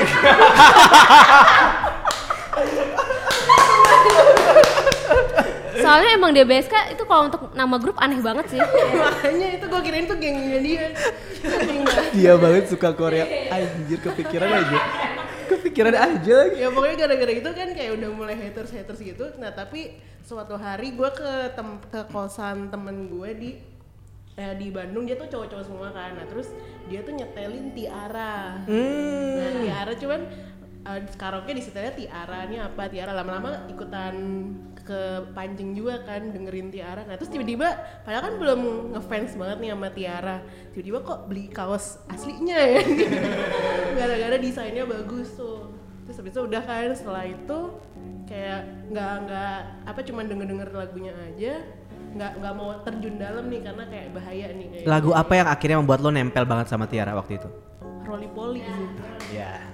Soalnya emang DBSK itu kalau untuk nama grup aneh banget sih. Iya. makanya itu gue kirain tuh gengnya dia Itu gengnya. Dia Iya banget suka Korea. Anjir kepikiran aja. Kepikiran aja lagi. ya pokoknya gara-gara itu kan kayak udah mulai haters haters gitu nah tapi suatu hari gue ke tem- ke kosan temen gue di eh, di Bandung dia tuh cowok-cowok semua kan nah terus dia tuh nyetelin Tiara Hmm. nah Tiara cuman eh, karaoke di setelnya Tiara ini apa Tiara lama-lama ikutan ke Panjang juga kan dengerin Tiara nah terus tiba-tiba padahal kan belum ngefans banget nih sama Tiara tiba-tiba kok beli kaos aslinya ya gara-gara desainnya bagus tuh terus habis itu udah kan setelah itu kayak nggak nggak apa cuman denger denger lagunya aja nggak nggak mau terjun dalam nih karena kayak bahaya nih kayak Lagu apa yang akhirnya membuat lo nempel banget sama Tiara waktu itu? Rolly Polly Ya,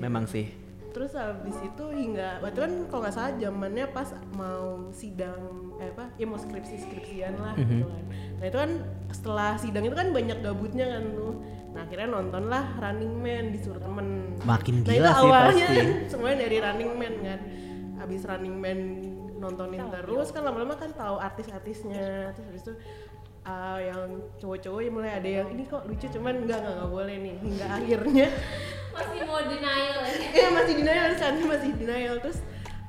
memang sih. terus habis itu hingga waktu kan kalau nggak salah zamannya pas mau sidang eh apa ya mau skripsi skripsian lah Mhm. gitu kan nah itu kan setelah sidang itu kan banyak gabutnya kan tuh nah akhirnya nontonlah Running Man disuruh temen Makin nah gila itu sih awalnya pasti. semuanya dari Running Man kan abis Running Man nontonin terus kan lama-lama kan tahu artis-artisnya terus habis itu ah, yang cowok-cowok yang mulai ada yang ini kok lucu cuman enggak enggak, enggak boleh nih hingga akhirnya Masih mau denial ya. Iya masih denial kan masih denial terus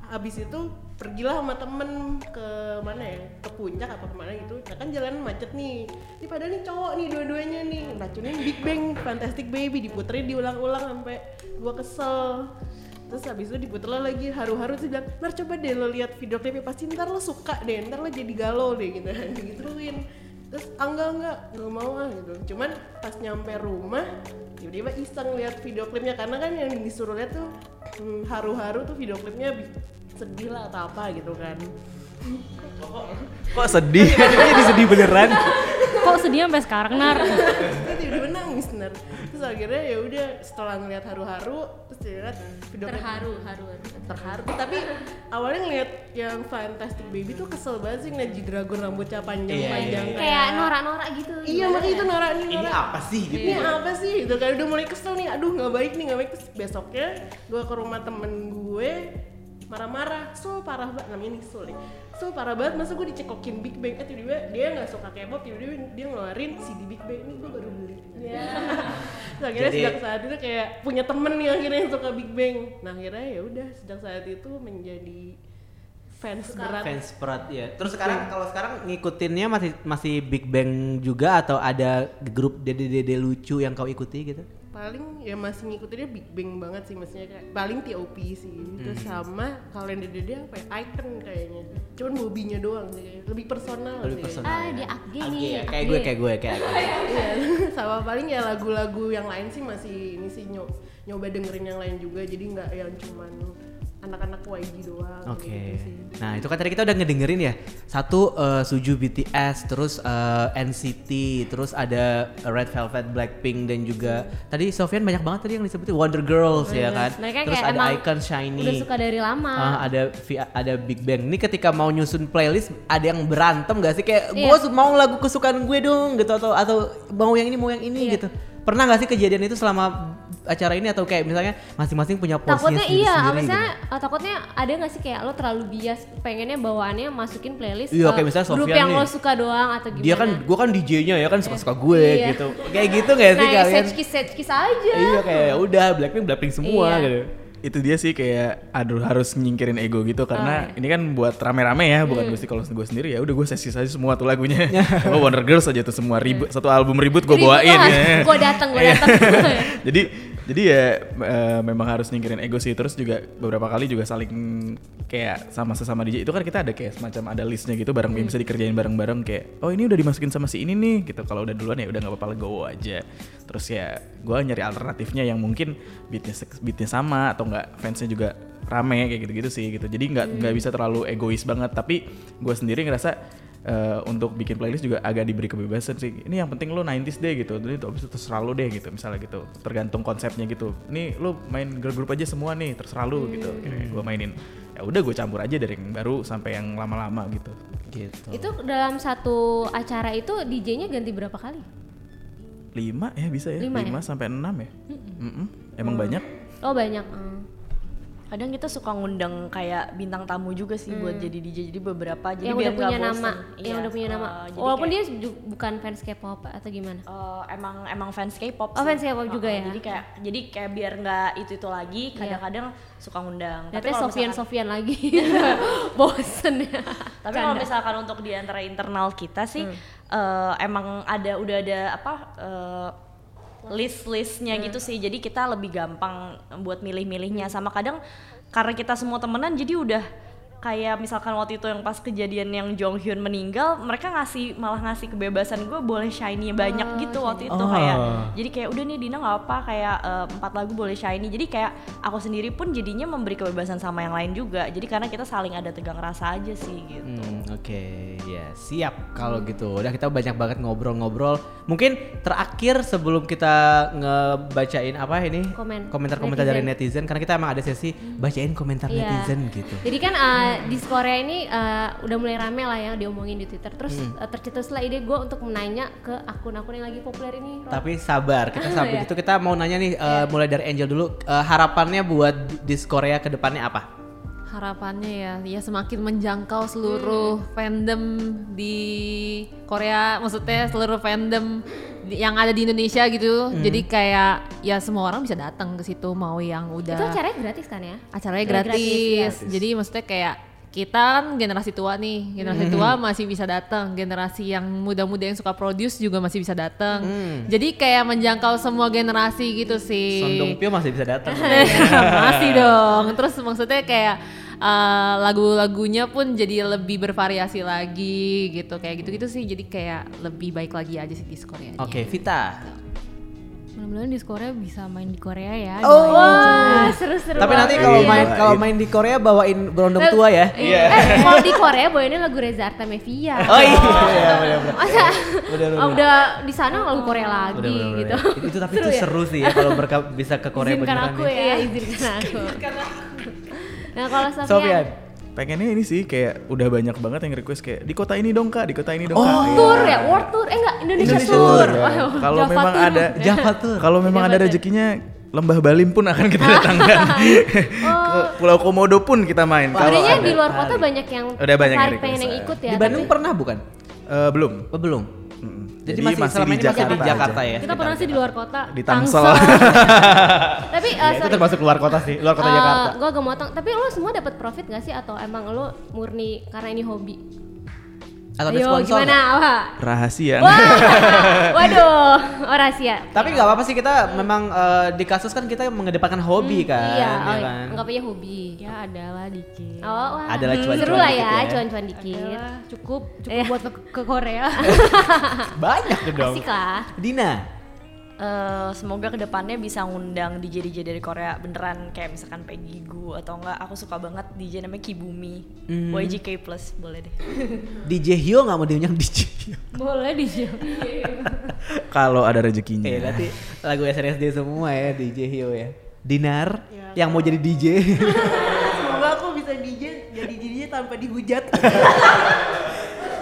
abis itu pergilah sama temen ke mana ya ke puncak apa kemana gitu nah kan jalan macet nih ini padahal nih cowok nih dua-duanya nih racunin Big Bang Fantastic Baby diputerin diulang-ulang sampai gua kesel terus habis itu diputer lagi haru-haru terus bilang ntar coba deh lo lihat video klipnya pasti ntar lo suka deh ntar lo jadi galau deh gitu digituin terus "Ah, enggak enggak nggak mau ah gitu cuman pas nyampe rumah tiba-tiba iseng lihat video klipnya karena kan yang disuruh lihat tuh hmm, haru-haru tuh video klipnya bi- sedih lah atau apa gitu kan Kok sedih? Jadi sedih beneran. Kok sedih sampai sekarang nar? terus tiba-tiba nangis ner terus akhirnya ya udah setelah ngeliat haru-haru terus dilihat video klip Terharu, haru. terharu tapi awalnya ngeliat yang Fantastic Baby tuh kesel banget sih ngeliat G-Dragon rambutnya panjang-panjang Kayak norak-norak gitu. iya makanya itu norak nih norak apa sih ini apa sih gitu kan udah mulai kesel nih aduh nggak baik nih nggak baik terus besoknya gue ke rumah temen gue marah-marah so parah banget namanya Nisul nih so parah banget masa gue dicekokin Big Bang eh tiba-tiba dia nggak suka K-pop tiba-tiba dia ngeluarin CD Big Bang ini gue baru beli Terus akhirnya Jadi- sejak saat itu kayak punya temen nih akhirnya yang suka Big Bang nah akhirnya ya udah sejak saat itu menjadi fans berat Fans perat ya. Terus sekarang kalau sekarang ngikutinnya masih masih Big Bang juga atau ada grup dede-dede lucu yang kau ikuti gitu? paling ya masih ngikutinnya Big Bang banget sih maksudnya kayak paling TOP sih Hmm. terus sama kalender dede apa ya icon kayaknya cuman bobinya doang sih kayaknya. lebih personal Lebih sih personal. Ah, ya. dia akge Oke, nih. ya. kayak gue kayak gue kayak gue. Iya. sama paling ya lagu-lagu yang lain sih masih ini sih nyo- nyoba dengerin yang lain juga jadi nggak yang cuman anak-anak YG doang Oke. gitu sih. Nah, itu kan tadi kita udah ngedengerin ya. Satu eh, Suju BTS, terus eh, NCT, terus ada Red Velvet, Blackpink dan juga tadi Sofian banyak banget tadi yang disebutin Wonder Girls ya kan. Mereka terus kayak ada emang Icon Shiny. Udah suka dari lama. Ah, ada Vi- ada Big Bang. Ini ketika mau nyusun playlist ada yang berantem gak sih Iya. kayak gue mau lagu kesukaan gue dong gitu atau atau mau yang ini mau yang Iya. ini gitu. Pernah gak sih kejadian itu selama acara ini atau kayak misalnya masing-masing punya porsinya takutnya iya, sendiri-sendiri gitu? misalnya eh, takutnya ada nggak sih kayak lo terlalu bias pengennya bawaannya masukin playlist Iya, eh, kayak misalnya grup Sofyan yang nih. lo suka doang atau gimana? Dia kan gue kan DJ-nya ya kan suka-suka gue Iya. gitu. Kayak gitu gak sih nah, kalian? sedkis sedkis aja. Iya kayak "Ya udah Blackpink Blackpink semua Iya. gitu. Itu dia sih kayak aduh harus nyingkirin ego gitu karena Oh, iya. ini kan buat rame-rame ya, Hmm. bukan gue sih kalau gue sendiri ya udah gue sesi aja semua tuh lagunya. gue Wonder Girls aja tuh semua ribut satu album ribut gue Jadi Hmm. Gitu gua bawain. harus- Iya. ya. Gua datang, gua datang. Jadi Jadi ya eh, memang harus nyingkirin ego sih. Terus juga beberapa kali juga saling kayak sama sesama DJ itu kan kita ada kayak semacam ada listnya gitu bareng bisa dikerjain bareng-bareng kayak oh ini udah dimasukin sama si ini nih gitu. Kalau udah duluan ya udah nggak apa-apa legowo aja. Terus ya gua nyari alternatifnya yang mungkin beatnya se- beatnya sama atau enggak fansnya juga rame kayak gitu-gitu sih gitu. Jadi nggak nggak bisa terlalu egois banget. Tapi gua sendiri ngerasa eh, untuk bikin playlist juga agak diberi kebebasan sih. Ini yang penting lu 90s deh gitu. Jadi tuh abis itu terserah lu deh gitu misalnya gitu. Tergantung konsepnya gitu. Nih lu main girl group aja semua nih, terserah lu gitu. Hmm. Kayak gue mainin. Ya udah gue campur aja dari yang baru sampai yang lama-lama gitu. gitu. Itu dalam satu acara itu DJ-nya ganti berapa kali? 5 ya bisa ya. 5 Lima ya? sampai 6 ya. Mm-mm. Emang banyak? Oh banyak. Hmm. kadang kita suka ngundang kayak bintang tamu juga sih buat jadi DJ jadi beberapa jadi Hmm. yang biar udah nggak punya bosen. nama, yang Iya, udah punya uh, nama. Oh, jadi Walaupun kayak, dia ju- bukan fans K-pop atau gimana? uh, emang emang fans K-pop Oh, sih. fans K-pop juga Uh-uh, ya? jadi kayak jadi kayak biar nggak itu itu lagi kadang-kadang suka ngundang Ternyata kalau Sofian misalkan- Sofian lagi. Bosen ya. tapi kalau Canda. misalkan untuk di antara internal kita sih eh, emang ada udah ada apa eh, list-listnya gitu sih jadi kita lebih gampang buat milih-milihnya sama kadang karena kita semua temenan jadi udah kayak misalkan waktu itu yang pas kejadian yang Jong Hyun meninggal mereka ngasih malah ngasih kebebasan gue boleh shiny banyak gitu waktu itu Oh. kayak jadi kayak udah nih Dina nggak apa kayak eh, empat lagu boleh shiny jadi kayak aku sendiri pun jadinya memberi kebebasan sama yang lain juga jadi karena kita saling ada tegang rasa aja sih gitu Hmm, Oke, ya siap kalau gitu. Udah kita banyak banget ngobrol-ngobrol. Mungkin terakhir sebelum kita ngebacain apa ini? Komen. Komentar-komentar dari netizen karena kita emang ada sesi bacain komentar Iya. netizen gitu. Jadi kan uh, di Korea ini uh, udah mulai rame lah ya diomongin di Twitter. Terus Hmm. uh, tercetuslah ide gue untuk menanya ke akun-akun yang lagi populer ini. Ron. Tapi sabar, kita Ah, sampai Oh. iya. itu kita mau nanya nih eh, mulai dari Angel dulu eh, harapannya buat di Korea ke depannya apa? harapannya ya ya semakin Hmm. menjangkau seluruh fandom di Korea maksudnya seluruh fandom di- yang ada di Indonesia gitu Hmm. jadi kayak ya semua orang bisa datang ke situ mau yang udah Itu acaranya gratis kan ya? acaranya Acara gratis. gratis, iya. Jadi maksudnya kayak kita kan generasi tua nih, Hmm. generasi tua masih bisa datang, generasi yang muda-muda yang suka produce juga masih bisa datang. Hmm. Jadi kayak menjangkau semua generasi gitu sih. Sondong Pio masih bisa datang. masih dong. Terus maksudnya kayak uh, lagu-lagunya pun jadi lebih bervariasi lagi gitu kayak gitu-gitu sih. Jadi kayak lebih baik lagi aja sih di Korea. Oh. Oke, Vita. Mudah-mudahan di Korea bisa main di Korea ya. Oh. doain aja. Wah, seru-seru. Tapi nanti banget. kalau Iya. main kalau main di Korea bawain berondong tua ya. Iya. Eh, kalau di Korea bawainnya lagu Reza Artamevia. Oh iya, iya, bener-bener. Masa Bener-bener. oh, udah di sana lagu Korea lagi Bener-bener gitu. ya. Itu, itu tapi itu seru sih ya kalau mereka bisa ke Korea izinkan beneran aku nih. ya. izinkan aku. nah, kalau Sofian, Sofian. Pengennya ini sih kayak udah banyak banget yang request kayak di kota ini dong kak, di kota ini dong kak. Iya. tour ya, world tour. Eh enggak, Indonesia, Indonesia tour. tour. Waduh, ya. Kalau Java memang tour. ada Java tuh. Kalau memang ada rezekinya Lembah Balim pun akan kita datangkan. Oh. Ke Pulau Komodo pun kita main. Kalau Sebenarnya ada. di luar kota banyak yang Udah banyak yang tertarik pengen request, yang ya. ikut ya. Di Bandung pernah bukan? Eh, belum. Oh, belum. Mm-mm. Jadi, masih, selama ini masih di Jakarta aja. ya. Kita pernah sih di luar kota. Di Tangsel. Tapi, tapi eh, Ya, itu sorry, termasuk luar kota sih, luar kota eh, Jakarta. gua agak motong. Tapi lo semua dapat profit gak sih atau emang lo murni karena ini hobi? Atau ada Ayo, sponsor? gimana? Wah. Rahasia. Kan? Wah, Waduh, oh rahasia. Tapi nggak apa-apa sih kita memang eh, di kasus kan kita mengedepankan hobi kan, iya, ya oh, kan? nggak punya hobi. Ya adalah dikit. Oh, wah. Adalah cuan-cuan Seru lah dikit ya, ya. cuan-cuan dikit. Adalah cukup cukup buat ke, ke Korea. Banyak dong. Asik lah. Dina. Eh, semoga kedepannya bisa ngundang DJ DJ dari Korea beneran kayak misalkan Peggy Gu atau enggak aku suka banget DJ namanya Kibumi Hmm. YGK Plus boleh deh DJ Hio nggak mau diundang DJ Hio. Boleh di Kalau ada rezekinya. Eh, nanti lagu SNSD semua ya DJ Hio ya. Dinar yang mau jadi DJ. Semoga aku bisa DJ jadi DJ tanpa dihujat.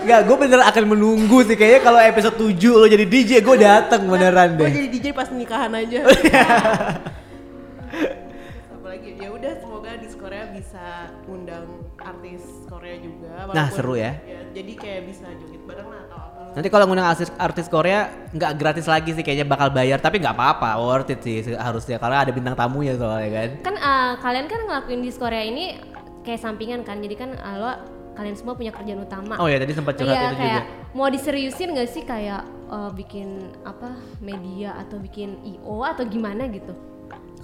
Enggak, gue bener akan menunggu sih kayaknya kalau episode 7 lo jadi DJ gue dateng beneran deh. Oh, Gue iya. jadi DJ pas nikahan aja. Apalagi ya udah semoga di Korea bisa undang artis Korea juga. Nah, walaupun- seru ya. Jadi kayak bisa joget bareng lah atau apa. Nanti kalau ngundang artis, artis Korea nggak gratis lagi sih kayaknya bakal bayar tapi nggak apa-apa worth it sih harusnya karena ada bintang tamunya soalnya kan. Kan eh, kalian kan ngelakuin di Korea ini kayak sampingan kan. Jadi kan eh, lo kalian semua punya kerjaan utama. Oh ya tadi sempat curhat Iya, itu kayak juga. mau diseriusin gak sih kayak eh, bikin apa media atau bikin IO atau gimana gitu?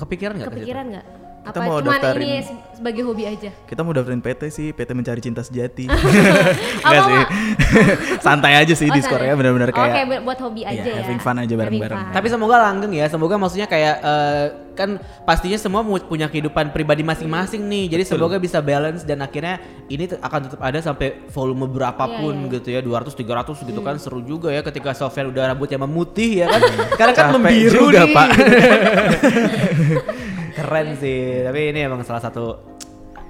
Kepikiran nggak? ke situ? Kepikiran nggak? Kita Apa mau cuman daftarin. ini se- sebagai hobi aja? Kita mau daftarin PT sih, PT Mencari Cinta Sejati. Enggak sih. Santai aja Oh, sih di santai. Korea ya, Oh, benar-benar kayak kayak buat- buat hobi Iya, aja ya. having fun aja bareng-bareng. Having fun. Tapi semoga langgeng ya. Semoga maksudnya kayak eh, kan pastinya semua mu- punya kehidupan pribadi masing-masing nih. Jadi semoga bisa balance dan akhirnya ini te- akan tetap ada sampai volume Iya, berapapun gitu ya. 200 300 gitu kan seru juga ya ketika software udah rambutnya memutih ya kan. Sekarang kan Capek membiru juga, nih. Pak. Keren sih. Tapi ini emang salah satu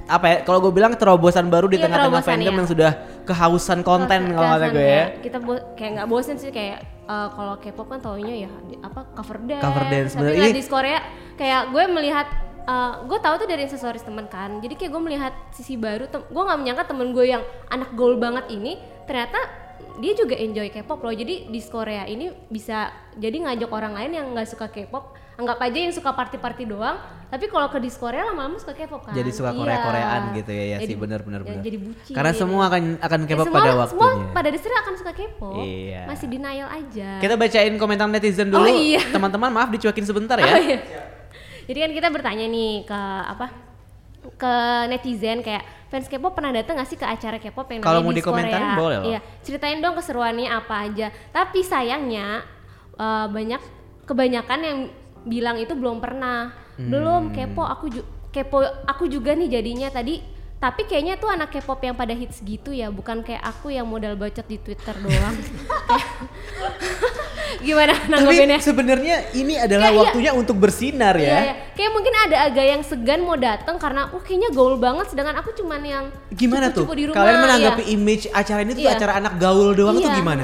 apa ya kalau gue bilang terobosan baru di Iya, tengah-tengah terobosan, fandom iya. yang sudah kehausan konten kalau kata Kerasan gue ya. kayak Kita bo- kayak nggak bosen sih kayak eh, kalau K-pop kan taunya ya di- apa cover dance. Cover dance, Tapi bener. nggak Ini- di Korea kayak gue melihat eh, gue tahu tuh dari aksesoris temen kan. Jadi kayak gue melihat sisi baru. Tem- gue nggak menyangka temen gue yang anak gaul banget ini ternyata dia juga enjoy K-pop loh. Jadi di Korea ini bisa jadi ngajak orang lain yang nggak suka K-pop anggap aja yang suka party-party doang tapi kalau ke di Korea lama-lama suka K-pop kan Jadi suka Iya. Korea-Koreaan gitu ya, ya sih, Jadi- bener, bener, ya, bener. jadi bucin Karena semua akan- akan Ya, K-pop semua- pada waktunya. semua pada dasarnya akan suka kepo Iya. masih denial aja Kita bacain komentar netizen dulu. Oh, iya. Teman-teman maaf dicuekin sebentar ya. Oh, iya. jadi kan kita bertanya nih ke apa ke netizen kayak fans K-pop pernah datang nggak sih ke acara K-pop yang Kalau namanya mau Miss dikomentarin Korea? boleh loh. Iya, ceritain dong keseruannya apa aja. Tapi sayangnya eh, banyak kebanyakan yang bilang itu belum pernah. Hmm. Belum kepo aku ju- kepo aku juga nih jadinya tadi tapi kayaknya tuh anak K-pop yang pada hits gitu ya, bukan kayak aku yang modal bacot di Twitter doang. Gimana Tapi nanggepinnya? sebenarnya ini adalah Kayak iya. waktunya untuk bersinar ya. Iya, iya. Kayak mungkin ada agak yang segan mau datang karena uh kayaknya gaul banget sedangkan aku cuman yang Gimana tuh? cupu-cupu di rumah, Kalian menanggapi iya. image acara ini tuh Iya. acara anak gaul doang tuh Iya. gimana?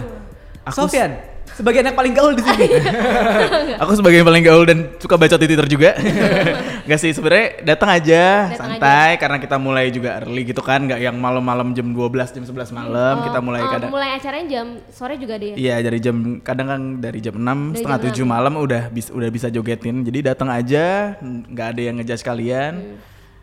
Aku Sofian, sebagai anak paling gaul di sini. Iya. Aku sebagai yang paling gaul dan suka baca di Twitter juga. Gak sih sebenarnya datang aja Datang santai karena kita mulai juga early gitu kan, nggak yang malam-malam jam 12 jam 11 Oh, malam kita mulai oh, kadang mulai acaranya jam sore juga deh. Iya dari jam kadang kan dari jam 6 Dari setengah jam 7 malam udah bis- udah bisa jogetin. Jadi datang aja, nggak ada yang ngejudge Hmm. kalian.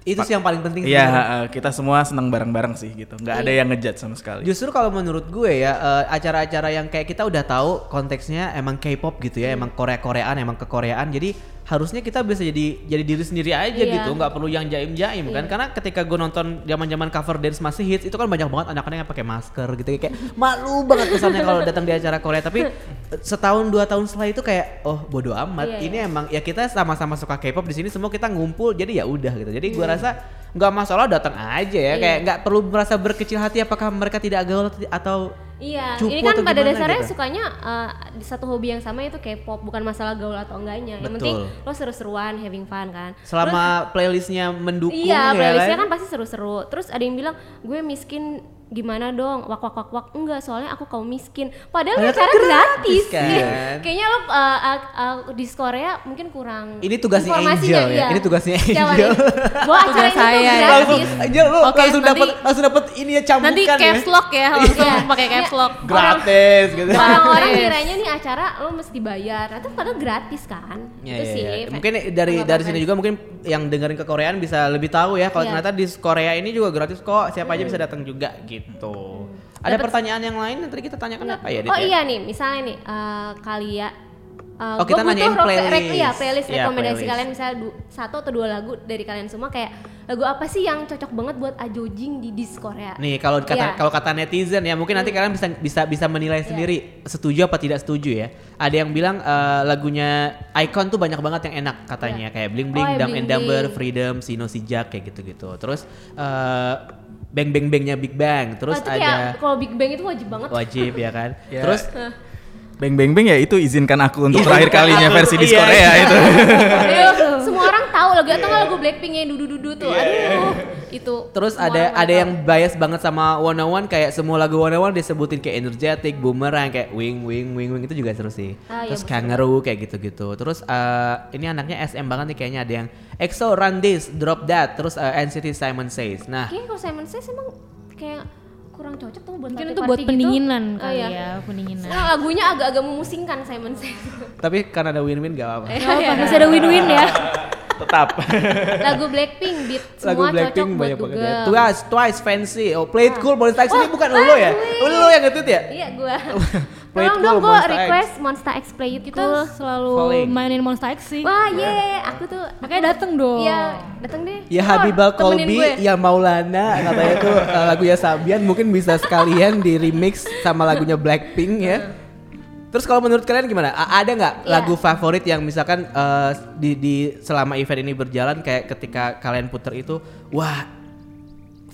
Itu sih yang paling penting Iya, sebenarnya. eh, kita semua senang bareng-bareng sih gitu. Nggak ada Iya. yang ngejudge sama sekali. Justru kalau menurut gue ya eh, acara-acara yang kayak kita udah tahu konteksnya emang K-pop gitu Hmm. ya, emang Korea-Koreaan, emang kekoreaan. Jadi harusnya kita bisa jadi jadi diri sendiri aja Iya. gitu, nggak perlu yang jaim-jaim kan. Karena ketika gue nonton zaman-zaman cover dance masih hits itu kan banyak banget anak-anak yang pakai masker gitu kayak malu banget kesannya kalau datang di acara Korea. Tapi eh, setahun dua tahun setelah itu kayak oh bodoh amat. Iya, ini emang ya kita sama-sama suka K-pop di sini semua kita ngumpul jadi ya udah gitu. Jadi Iya. gue rasa nggak masalah datang aja ya kayak nggak perlu merasa berkecil hati apakah mereka tidak gaul atau- atau Iya, cupu ini kan atau pada gimana dasarnya gitu. sukanya eh, di satu hobi yang sama itu K-pop, bukan masalah gaul atau enggaknya. Yang penting Betul. lo seru-seruan, having fun kan. selama playlistnya mendukung ya Iya, playlistnya kan pasti seru-seru. Terus ada yang bilang gue miskin gimana dong wak wak wak wak enggak soalnya aku kaum miskin padahal Padahal acara kan gratis, gratis, kan? Iya. kayaknya lo uh, uh, uh, di Korea mungkin kurang Ini tugasnya informasinya, iya. Angel ya? Ini tugasnya Jangan, Angel. Wah acara Tugas ini tuh saya ya. langsung gratis aja lu Oke, langsung nanti- dapat langsung dapat ini ya cambukan Nanti ya. caps lock ya, Iya. langsung pakai caps lock. gratis gitu. orang-orang Gratis. kiranya nih acara lo mesti bayar tapi padahal gratis kan Ya, itu ya, sih ya. Fe- Mungkin dari tanggapan dari sini saya. juga mungkin yang dengerin ke Koreaan bisa lebih tahu ya kalau Iya. ternyata di Korea ini juga gratis kok, siapa aja bisa datang juga gitu. Ada pertanyaan yang lain yang tadi kita tanyakan apa ya? Dit, Oh ya? iya nih, misalnya nih eh kalian eh, Oh, gua kita nanyain rok- rek- playlist. iya, playlist Iya, rekomendasi playlist. kalian misalnya du- satu atau dua lagu dari kalian semua kayak lagu apa sih yang cocok banget buat ajojing di dis Korea? Nih kalau kata Iya. Hmm. kalau kata netizen ya mungkin nanti kalian bisa bisa bisa menilai sendiri setuju apa tidak setuju ya. Ada yang bilang eh, lagunya Icon tuh banyak banget yang enak katanya kayak Bling Bling, Oh, ya, Dumb Bling and Dumber, Bling. Freedom, Sino Sijak kayak gitu-gitu. Terus eh, Bang Bang Bangnya Big Bang. Oh, Terus itu kayak ada kalau Big Bang itu wajib banget. wajib ya kan. Ya. Terus Beng beng beng ya itu izinkan aku untuk Izinkan terakhir kalinya aku, versi di iya, Korea iya. itu. Aduh, Iya, semua orang tahu lagu atau nggak lagu Blackpink yang dudu-dudu tuh. Iya, Aduh, itu. Terus semua ada orang ada tahu. yang bias banget sama One One kayak semua lagu One One disebutin kayak energetic, boomerang kayak wing wing wing wing itu juga seru sih. Ah, iya, Terus betul. kangaroo kayak gitu-gitu. Terus eh, ini anaknya SM banget nih kayaknya ada yang EXO Run This, Drop That, terus eh, NCT Simon Says. Nah, Kayaknya kalau Simon Says emang kayak kurang cocok tuh buat Mungkin party-party itu buat gitu. pendinginan Oh, kali iya. ya, pendinginan. Nah, lagunya agak-agak memusingkan Simon Says. tapi karena ada win-win gak apa-apa. Eh. Gak apa, Oh, masih ada win-win ya. Tetap. lagu Blackpink beat semua cocok buat Google. ya. Twice, Ah. Twice Fancy, oh Play It Cool, Bonnie Tyson ini bukan lo ya? Asli. Lo yang ngetweet ya? Iya gua. Play it Tolong dong cool, gue Monster X. request Monster X Play It kita Cool. selalu Calling. mainin Monster X sih Wah ye, aku tuh Makanya dateng dong. Iya, dateng deh. Ya Oh, Habibah temenin Kolbi, gue. ya Maulana katanya tuh eh, lagunya Sabian mungkin bisa sekalian di remix sama lagunya Blackpink ya. Terus kalau menurut kalian gimana? A- ada nggak Iya. lagu favorit yang misalkan eh, di, di selama event ini berjalan kayak ketika kalian puter itu, wah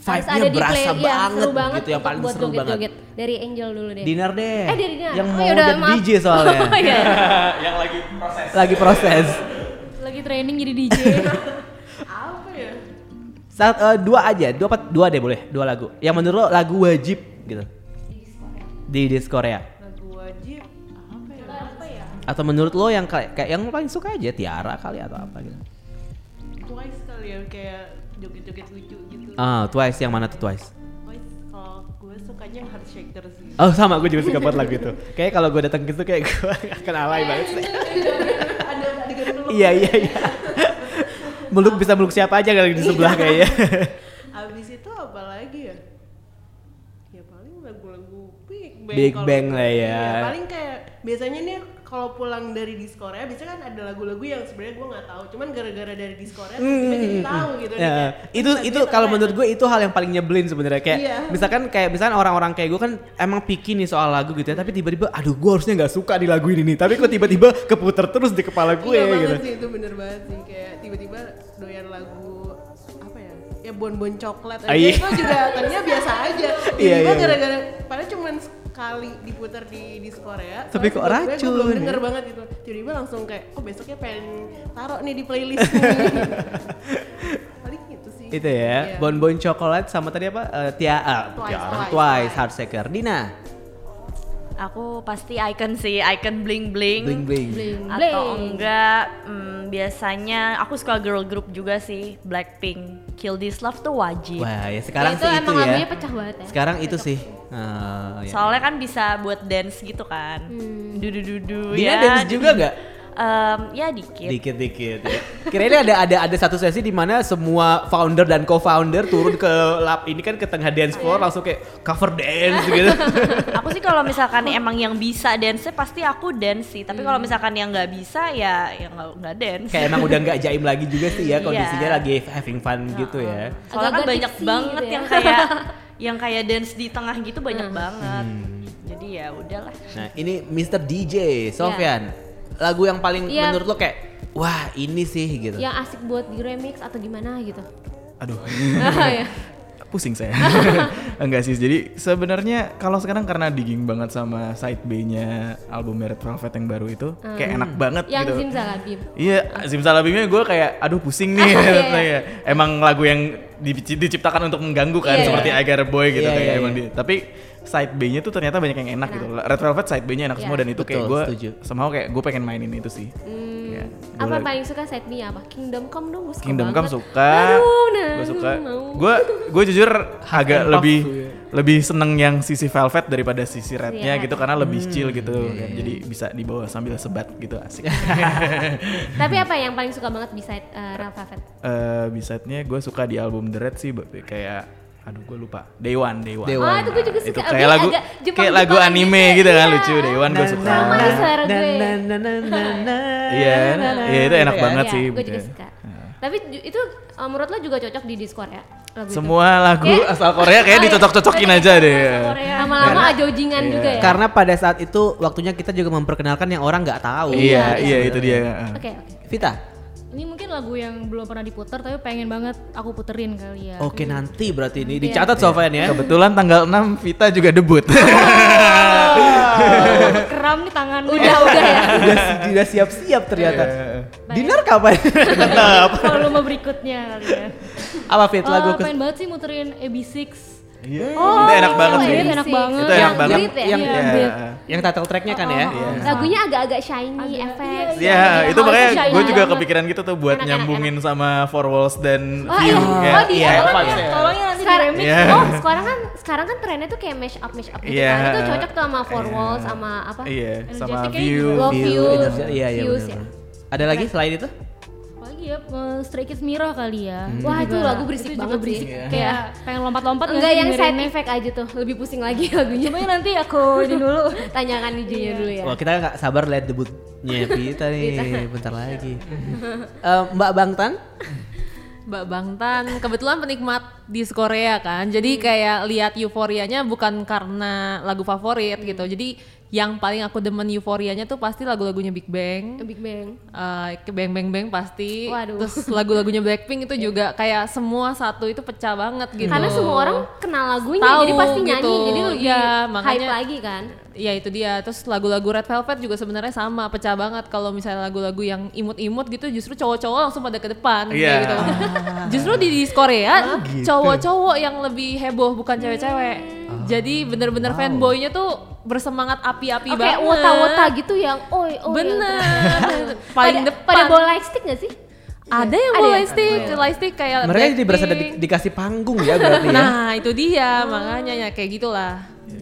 Harus vibe-nya play- berasa iya, banget, seru banget gitu yang untuk paling buat seru banget. joget-joget. Dari Angel dulu deh. Dinner deh. Eh dari Dinar. Yang Oh, mau yaudah, jadi maaf. DJ soalnya. Oh, iya. yang lagi proses Lagi proses. lagi training jadi DJ Saat eh, dua aja, dua apa- dua deh boleh, dua lagu. Yang menurut lo lagu wajib gitu. Di dis Korea. lagu wajib apa ya? Apa ya? Atau menurut lo yang kayak kayak yang lo paling suka aja Tiara kali atau apa gitu. Twice kali ya kayak joget-joget lucu gitu. Ah, Twice yang mana tuh Twice? Twice kalau gue sukanya yang hard shaker sih. Oh sama, gue juga suka banget lagu itu. Kayak kalau gue datang gitu kayak gue akan alay banget. Ada adegan meluk. iya iya iya. meluk bisa meluk siapa aja kali di sebelah kayaknya. Abis itu apa lagi ya? Ya paling lagu-lagu Big Bang. Big kalau Bang gue. lah ya. Iya, paling kayak biasanya nih kalau pulang dari di Korea biasanya kan ada lagu-lagu yang sebenarnya gue nggak tahu. Cuman gara-gara dari di Korea tiba-tiba jadi tahu gitu. Ya, itu itu kalau menurut gue itu hal yang paling nyebelin sebenarnya kayak Iya. misalkan kayak misalkan orang-orang kayak gue kan emang picky nih soal lagu gitu ya tapi tiba-tiba aduh gue harusnya nggak suka di lagu ini nih tapi kok tiba-tiba keputer terus di kepala gue Iya banget gitu sih itu bener banget sih kayak tiba-tiba doyan lagu apa ya ya bonbon coklat aja Ah, iya. itu juga tadinya biasa aja Iya, tiba-tiba iya, iya. gara-gara padahal cuman sekali diputar di di Korea Tapi kok soalnya menurut gue, gue belum racun, denger ya? banget gitu tiba-tiba langsung kayak oh besoknya pengen taruh nih di playlist nih. paling gitu sih Itu ya, Iya. bonbon coklat sama tadi apa? Eh, tia, ah, Twice, tiara, Twice, twice, hard shaker. Dina, Aku pasti icon sih, icon bling bling. bling bling. Atau enggak, mm, biasanya aku suka girl group juga sih, Blackpink. Kill This Love tuh wajib. Wah, ya sekarang itu sih itu emang ya. lagunya pecah banget ya. Sekarang itu sih. Ah, ya. Soalnya kan bisa buat dance gitu kan. Hmm. Dudu dudu Dina ya. dance juga nggak? Em, ya dikit. Dikit-dikit. ya. Kirain ada ada ada satu sesi di mana semua founder dan co-founder turun ke lap ini kan ke tengah dance floor langsung kayak cover dance gitu. aku sih kalau misalkan emang yang bisa dance pasti aku dance sih. Tapi Hmm. kalau misalkan yang nggak bisa ya ya nggak nggak dance. kayak emang udah nggak jaim lagi juga sih ya Iya. kondisinya lagi having fun gitu ya. Soalnya kan Agak-agak banyak diksi banget gitu ya. Hmm. yang kayak yang kayak dance di tengah gitu banyak banget. Hmm. Jadi ya udahlah. Nah, ini Mr. DJ Sofyan. Lagu yang paling Iya. menurut lo kayak wah, ini sih gitu. Yang asik buat di remix atau gimana gitu. aduh Iya. pusing saya enggak sih jadi sebenarnya kalau sekarang karena digging banget sama side B-nya album Merit Prophet yang baru itu kayak enak banget Hmm. Yang gitu Zimzalabim. Iya, Zimsalabimnya gue kayak aduh pusing nih. Ah, iya, Saya. Emang lagu yang dici- diciptakan untuk mengganggu kan Iya, seperti iya. Agar Boy gitu Iya, kayak iya, emang iya. di- tapi side B-nya tuh ternyata banyak yang enak, gitu. Red Velvet side B-nya enak semua Iya. Hmm. dan itu kayak Betul, gue setuju. somehow kayak gue pengen mainin itu sih. Kayak gua Apa lagi- paling suka side B apa? Kingdom Come dong gue suka Kingdom Come banget. suka. Aduh, nah, gue suka. aduh, mau. Gue gue jujur agak and puff lebih tuh ya. lebih seneng yang sisi velvet daripada sisi rednya Red. Hmm. Iya, gitu karena lebih chill gitu. kan. Jadi bisa dibawa sambil sebat gitu asik. Tapi apa yang paling suka banget beside uh, Ralph Havet? Eh bisetnya gue suka di album The Red sih ba- kayak aduh gue lupa Day One Day One. Nah, Day One. Ah itu gue juga suka. Itu Dia kayak lagu agak kayak Jepang-Jepangan lagu anime gitu kan Iya. lucu Day One gue suka. Sama nih selera gue. Iya, iya itu ya. enak banget Iya, sih. Gue juga gitu. suka. Tapi ju- itu uh, menurut lo juga cocok di Discord ya? Lagu itu? Semua lagu Kayak- asal Korea kayak Oh, iya. dicocok-cocokin aja deh. Lama-lama Karena- ajojingan Iya. juga ya. Karena pada saat itu waktunya kita juga memperkenalkan yang orang nggak tahu. Iya, iya itu dia. Oke, oke. Vita, ini mungkin lagu yang belum pernah diputar tapi pengen banget aku puterin kali Iya. ya oke nanti berarti ini dicatat Sofyan ya. Kebetulan tanggal 6 Vita juga debut. keram nih tangan Udah, udah Iya. ya. Udah si- udah siap-siap ternyata. Dinner kapan? kalau mau berikutnya kali ya Apa Fit Eh, lagu pengen banget sih muterin AB6 Iya. Itu enak banget sih. iya, iya. enak banget. Itu enak banget. Yang, ya? Iya. yang, Iya. yang, Beat. yang title tracknya kan Oh, ya. lagunya agak-agak shiny, efek. Iya, itu House makanya shiny gue juga banget. kepikiran gitu tuh buat Enak, enak, nyambungin sama Four Walls dan Oh, iya. View. Kayak- Oh, di Iya, awal vibes ya. ya. Tolongnya nanti di sekarang, remix. Iya. oh sekarang kan sekarang kan trennya tuh kayak mash up mash up gitu Iya. kan itu cocok tuh sama four walls sama apa Iya, sama Energetic-nya gitu. View. love View, views Energy- Iya, iya views ya benar. Ada lagi selain itu? apalagi iya eh, Stray Kids Mirror kali ya. Wah, itu juga- lagu berisik juga banget sih. Iya. Kayak pengen lompat-lompat nggak Enggak sih yang side dengerinnya? effect aja tuh, lebih pusing lagi lagunya. Coba nanti aku ini dulu. Tanyakan DJ-nya dulu ya. Wah kita nggak sabar lihat debutnya Pita nih, bentar lagi. Eh, Mbak Bangtan, Mbak Bangtan kebetulan penikmat di Korea kan. Jadi Hmm. kayak lihat euforianya bukan karena lagu favorit gitu. Hmm. Jadi yang paling aku demen euforianya tuh pasti lagu-lagunya Big Bang. Big Bang. eh ke bang bang bang pasti Waduh. Iya. terus lagu-lagunya Blackpink itu juga kayak semua satu itu pecah banget gitu Karena semua orang kenal lagunya, Tahu jadi pasti gitu. nyanyi, jadi lebih Iya, hype makanya- lagi kan. Iya itu dia. Terus lagu-lagu Red Velvet juga sebenarnya sama, pecah banget. Kalau misalnya lagu-lagu yang imut-imut gitu, justru cowok-cowok langsung pada ke depan kayak Iya. gitu. justru di di Korea gitu. cowok-cowok yang lebih heboh bukan cewek-cewek. Jadi bener-bener fanboynya tuh bersemangat api-api Oke, banget. wota-wota gitu yang oi oi. Bener. Paling Paling pada, depan. pada bola light stick gak sih? Iya. Ada yang Ada mau ya? lightstick, lightstick kayak mereka jadi berasa di- Blackpink. dikasih panggung ya berarti ya. Nah itu dia makanya ya kayak gitulah.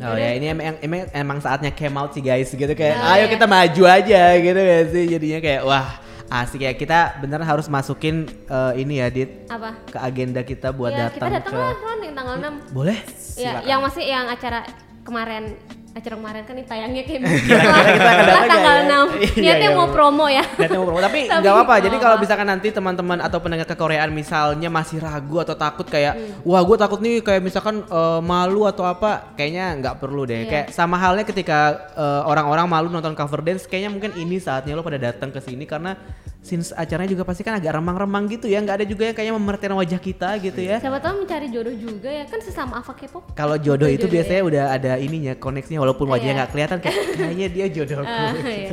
Oh ya ini emang, emang emang saatnya came out sih guys gitu kayak Nah, ya. ayo kita maju aja gitu ya sih jadinya kayak wah asik ya kita bener harus masukin eh, ini ya Dit Apa? ke agenda kita buat ya, kita datang datang ke lah Ron yang tanggal 6. boleh Ya, Silakan. yang masih yang acara kemarin acara kemarin kan ini tayangnya kayak Kira-kira Iya, kita akan datang setelah nggak tanggal ya? 6 Iya, niatnya iya, mau Bu. promo ya Niatnya mau promo, tapi Tapi nggak apa-apa. Jadi nggak kalau apa-apa. misalkan nanti teman-teman atau pendengar kekoreaan misalnya masih ragu atau takut kayak, Hmm. wah gue takut nih kayak misalkan eh, malu atau apa, kayaknya nggak perlu Iya. deh. Kayak sama halnya ketika eh, orang-orang malu nonton cover dance, kayaknya mungkin ini saatnya lo pada datang ke sini karena since acaranya juga pasti kan agak remang-remang gitu ya, nggak ada juga yang kayaknya memerhatiin wajah kita gitu ya. siapa tahu mencari jodoh juga ya kan sesama Ava K-pop Kalau jodoh itu Jodoh ya. biasanya udah ada ininya, koneksinya walaupun Iya. wajahnya nggak kelihatan kayak kayaknya dia jodohku. Nah, Ah, iya.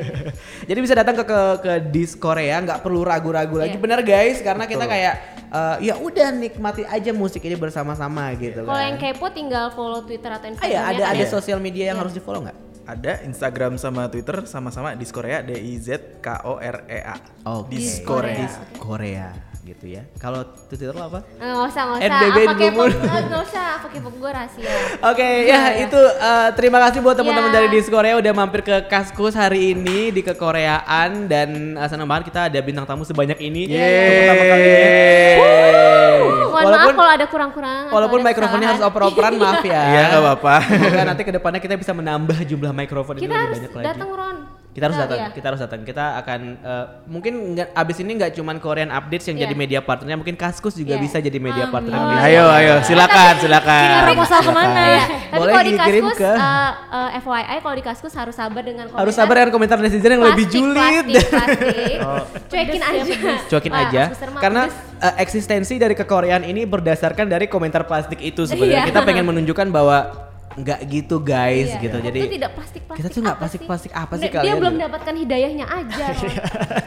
Jadi bisa datang ke ke, ke dis Korea nggak perlu ragu-ragu lagi. Iya. Bener guys, karena kita kayak eh, ya udah nikmati aja musik ini bersama-sama gitu kalau yang kan. kepo tinggal follow Twitter atau kan? Ah, ya, Instagram ada ada sosial media iya. yang harus di-follow nggak? Ada Instagram sama Twitter sama-sama di Korea D I Z K O R E A. Oh, Di dis Korea. Dis Korea gitu ya. Kalau Twitter lo apa? Eh, nggak usah nggak usah NBB Ava K-pop gumun. eh, nggak usah Ava K-pop gue rahasia Oke, ya itu eh, terima kasih buat teman-teman Ya. dari Dis Korea udah mampir ke Kaskus hari ini di kekoreaan dan eh, senang banget kita ada bintang tamu sebanyak ini. Untuk pertama kalinya. iya. mohon maaf Walaupun Ah, kalau ada kurang-kurang atau walaupun ada mikrofonnya harus kesalahan. oper-operan, maaf ya. Iya, nggak apa-apa. Semoga nanti kedepannya kita bisa menambah jumlah mikrofon itu kita lebih harus banyak lagi. datang Ron Kita harus datang, Iya. kita harus datang. Kita akan eh, mungkin nggak abis ini nggak cuman Korean updates yang Iya. jadi media partnernya, mungkin Kaskus juga Iya. bisa jadi media partner. Amin. Ayo ayo silakan silakan. Proposal kemana? Iya, tapi Boleh kalau di dikirim kaskus, ke- eh, eh, FYI kalau di kaskus harus sabar dengan komentar. Harus sabar dengan komentar netizen yang lebih Plastik, julid. Plastik, plastik. Cuekin aja. Cuekin Wah, aja, suster mah karena pedes. eh, eksistensi dari kekoreaan ini berdasarkan dari komentar plastik itu sebenarnya. Iya. Kita pengen menunjukkan bahwa nggak gitu guys Iya. gitu. Itu Jadi tidak plastik-plastik. kita tuh nggak apa sih? plastik-plastik apa sih Dia- Dia kalian belum gitu. Iya. dapatkan hidayahnya aja. Ron.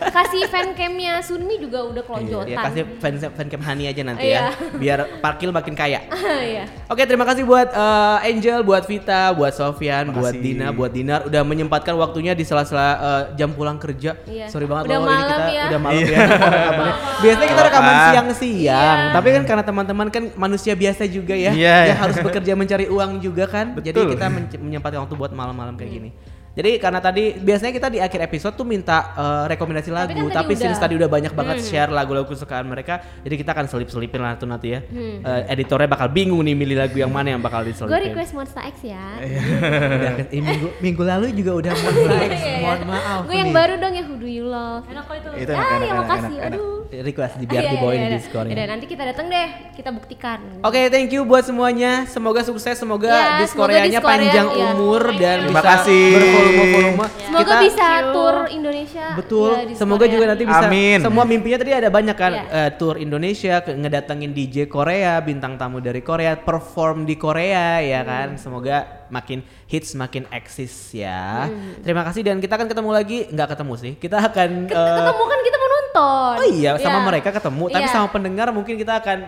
Kasih fancamnya Sunmi juga udah kelonjotan. Ya kasih fans fancam Hani aja nanti ya, Iya. biar Parkil makin kaya. Iya. Oke, terima kasih buat eh, Angel, buat Vita, buat Sofian, buat Makasih. Dina, buat Dinar udah menyempatkan waktunya di sela-sela eh, jam pulang kerja. Iya. Sorry banget Udah loh ini kita malam ya. udah Iya. malam ya. kita rekamannya. Biasanya kita rekaman Apa-apa. siang-siang, Iya. tapi kan karena teman-teman kan manusia biasa juga ya, Iya, yang iya. harus bekerja mencari uang juga kan. Jadi Betul. kita men- menyempatkan waktu buat malam-malam kayak gini. Jadi karena tadi biasanya kita di akhir episode tuh minta eh, rekomendasi Tapi lagu, kan tadi tapi, udah. Hmm. since tadi udah banyak banget share lagu-lagu kesukaan mereka, jadi kita akan selip-selipin lah tuh nanti ya. Hmm. Eh, editornya bakal bingung nih milih lagu yang mana yang bakal diselipin. Gue request Monster X ya. Iya, Udah, eh, minggu, minggu lalu juga udah Monster X, mohon maaf. Gue Iya, yang nih. baru dong yang Who Do You Love. Enak kok itu. Itu enak, Ah, enak, ya enak, makasih. enak, enak. Aduh. request di Iya, biar iya, dibawain iya, di Iya. iya. Discord. Yaudah, nanti kita datang deh, kita buktikan. Oke, thank you buat semuanya. Semoga sukses, semoga Ya, dis semoga Koreanya Dis Korea, panjang iya. umur dan Terima bisa kasih. bervolume-volume. Semoga Kita- bisa tur Indonesia. Betul. ya, di Semoga Korea. juga nanti bisa. Amin. Semua mimpinya tadi ada banyak kan Iya. eh, tour Indonesia, ke- ngedatengin DJ Korea, bintang tamu dari Korea, perform di Korea ya Hmm. kan. Semoga makin hits, makin eksis ya. Hmm. Terima kasih dan kita akan ketemu lagi, nggak ketemu sih. Kita akan eh, ketemu kan kita mau nonton. Oh iya, sama Ya. mereka ketemu, tapi Iya. sama pendengar mungkin kita akan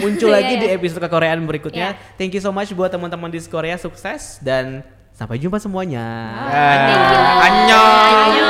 muncul Iya, lagi di iya. episode kekoreaan berikutnya. Thank you so much buat teman-teman di Korea sukses dan sampai jumpa semuanya. Annyeong.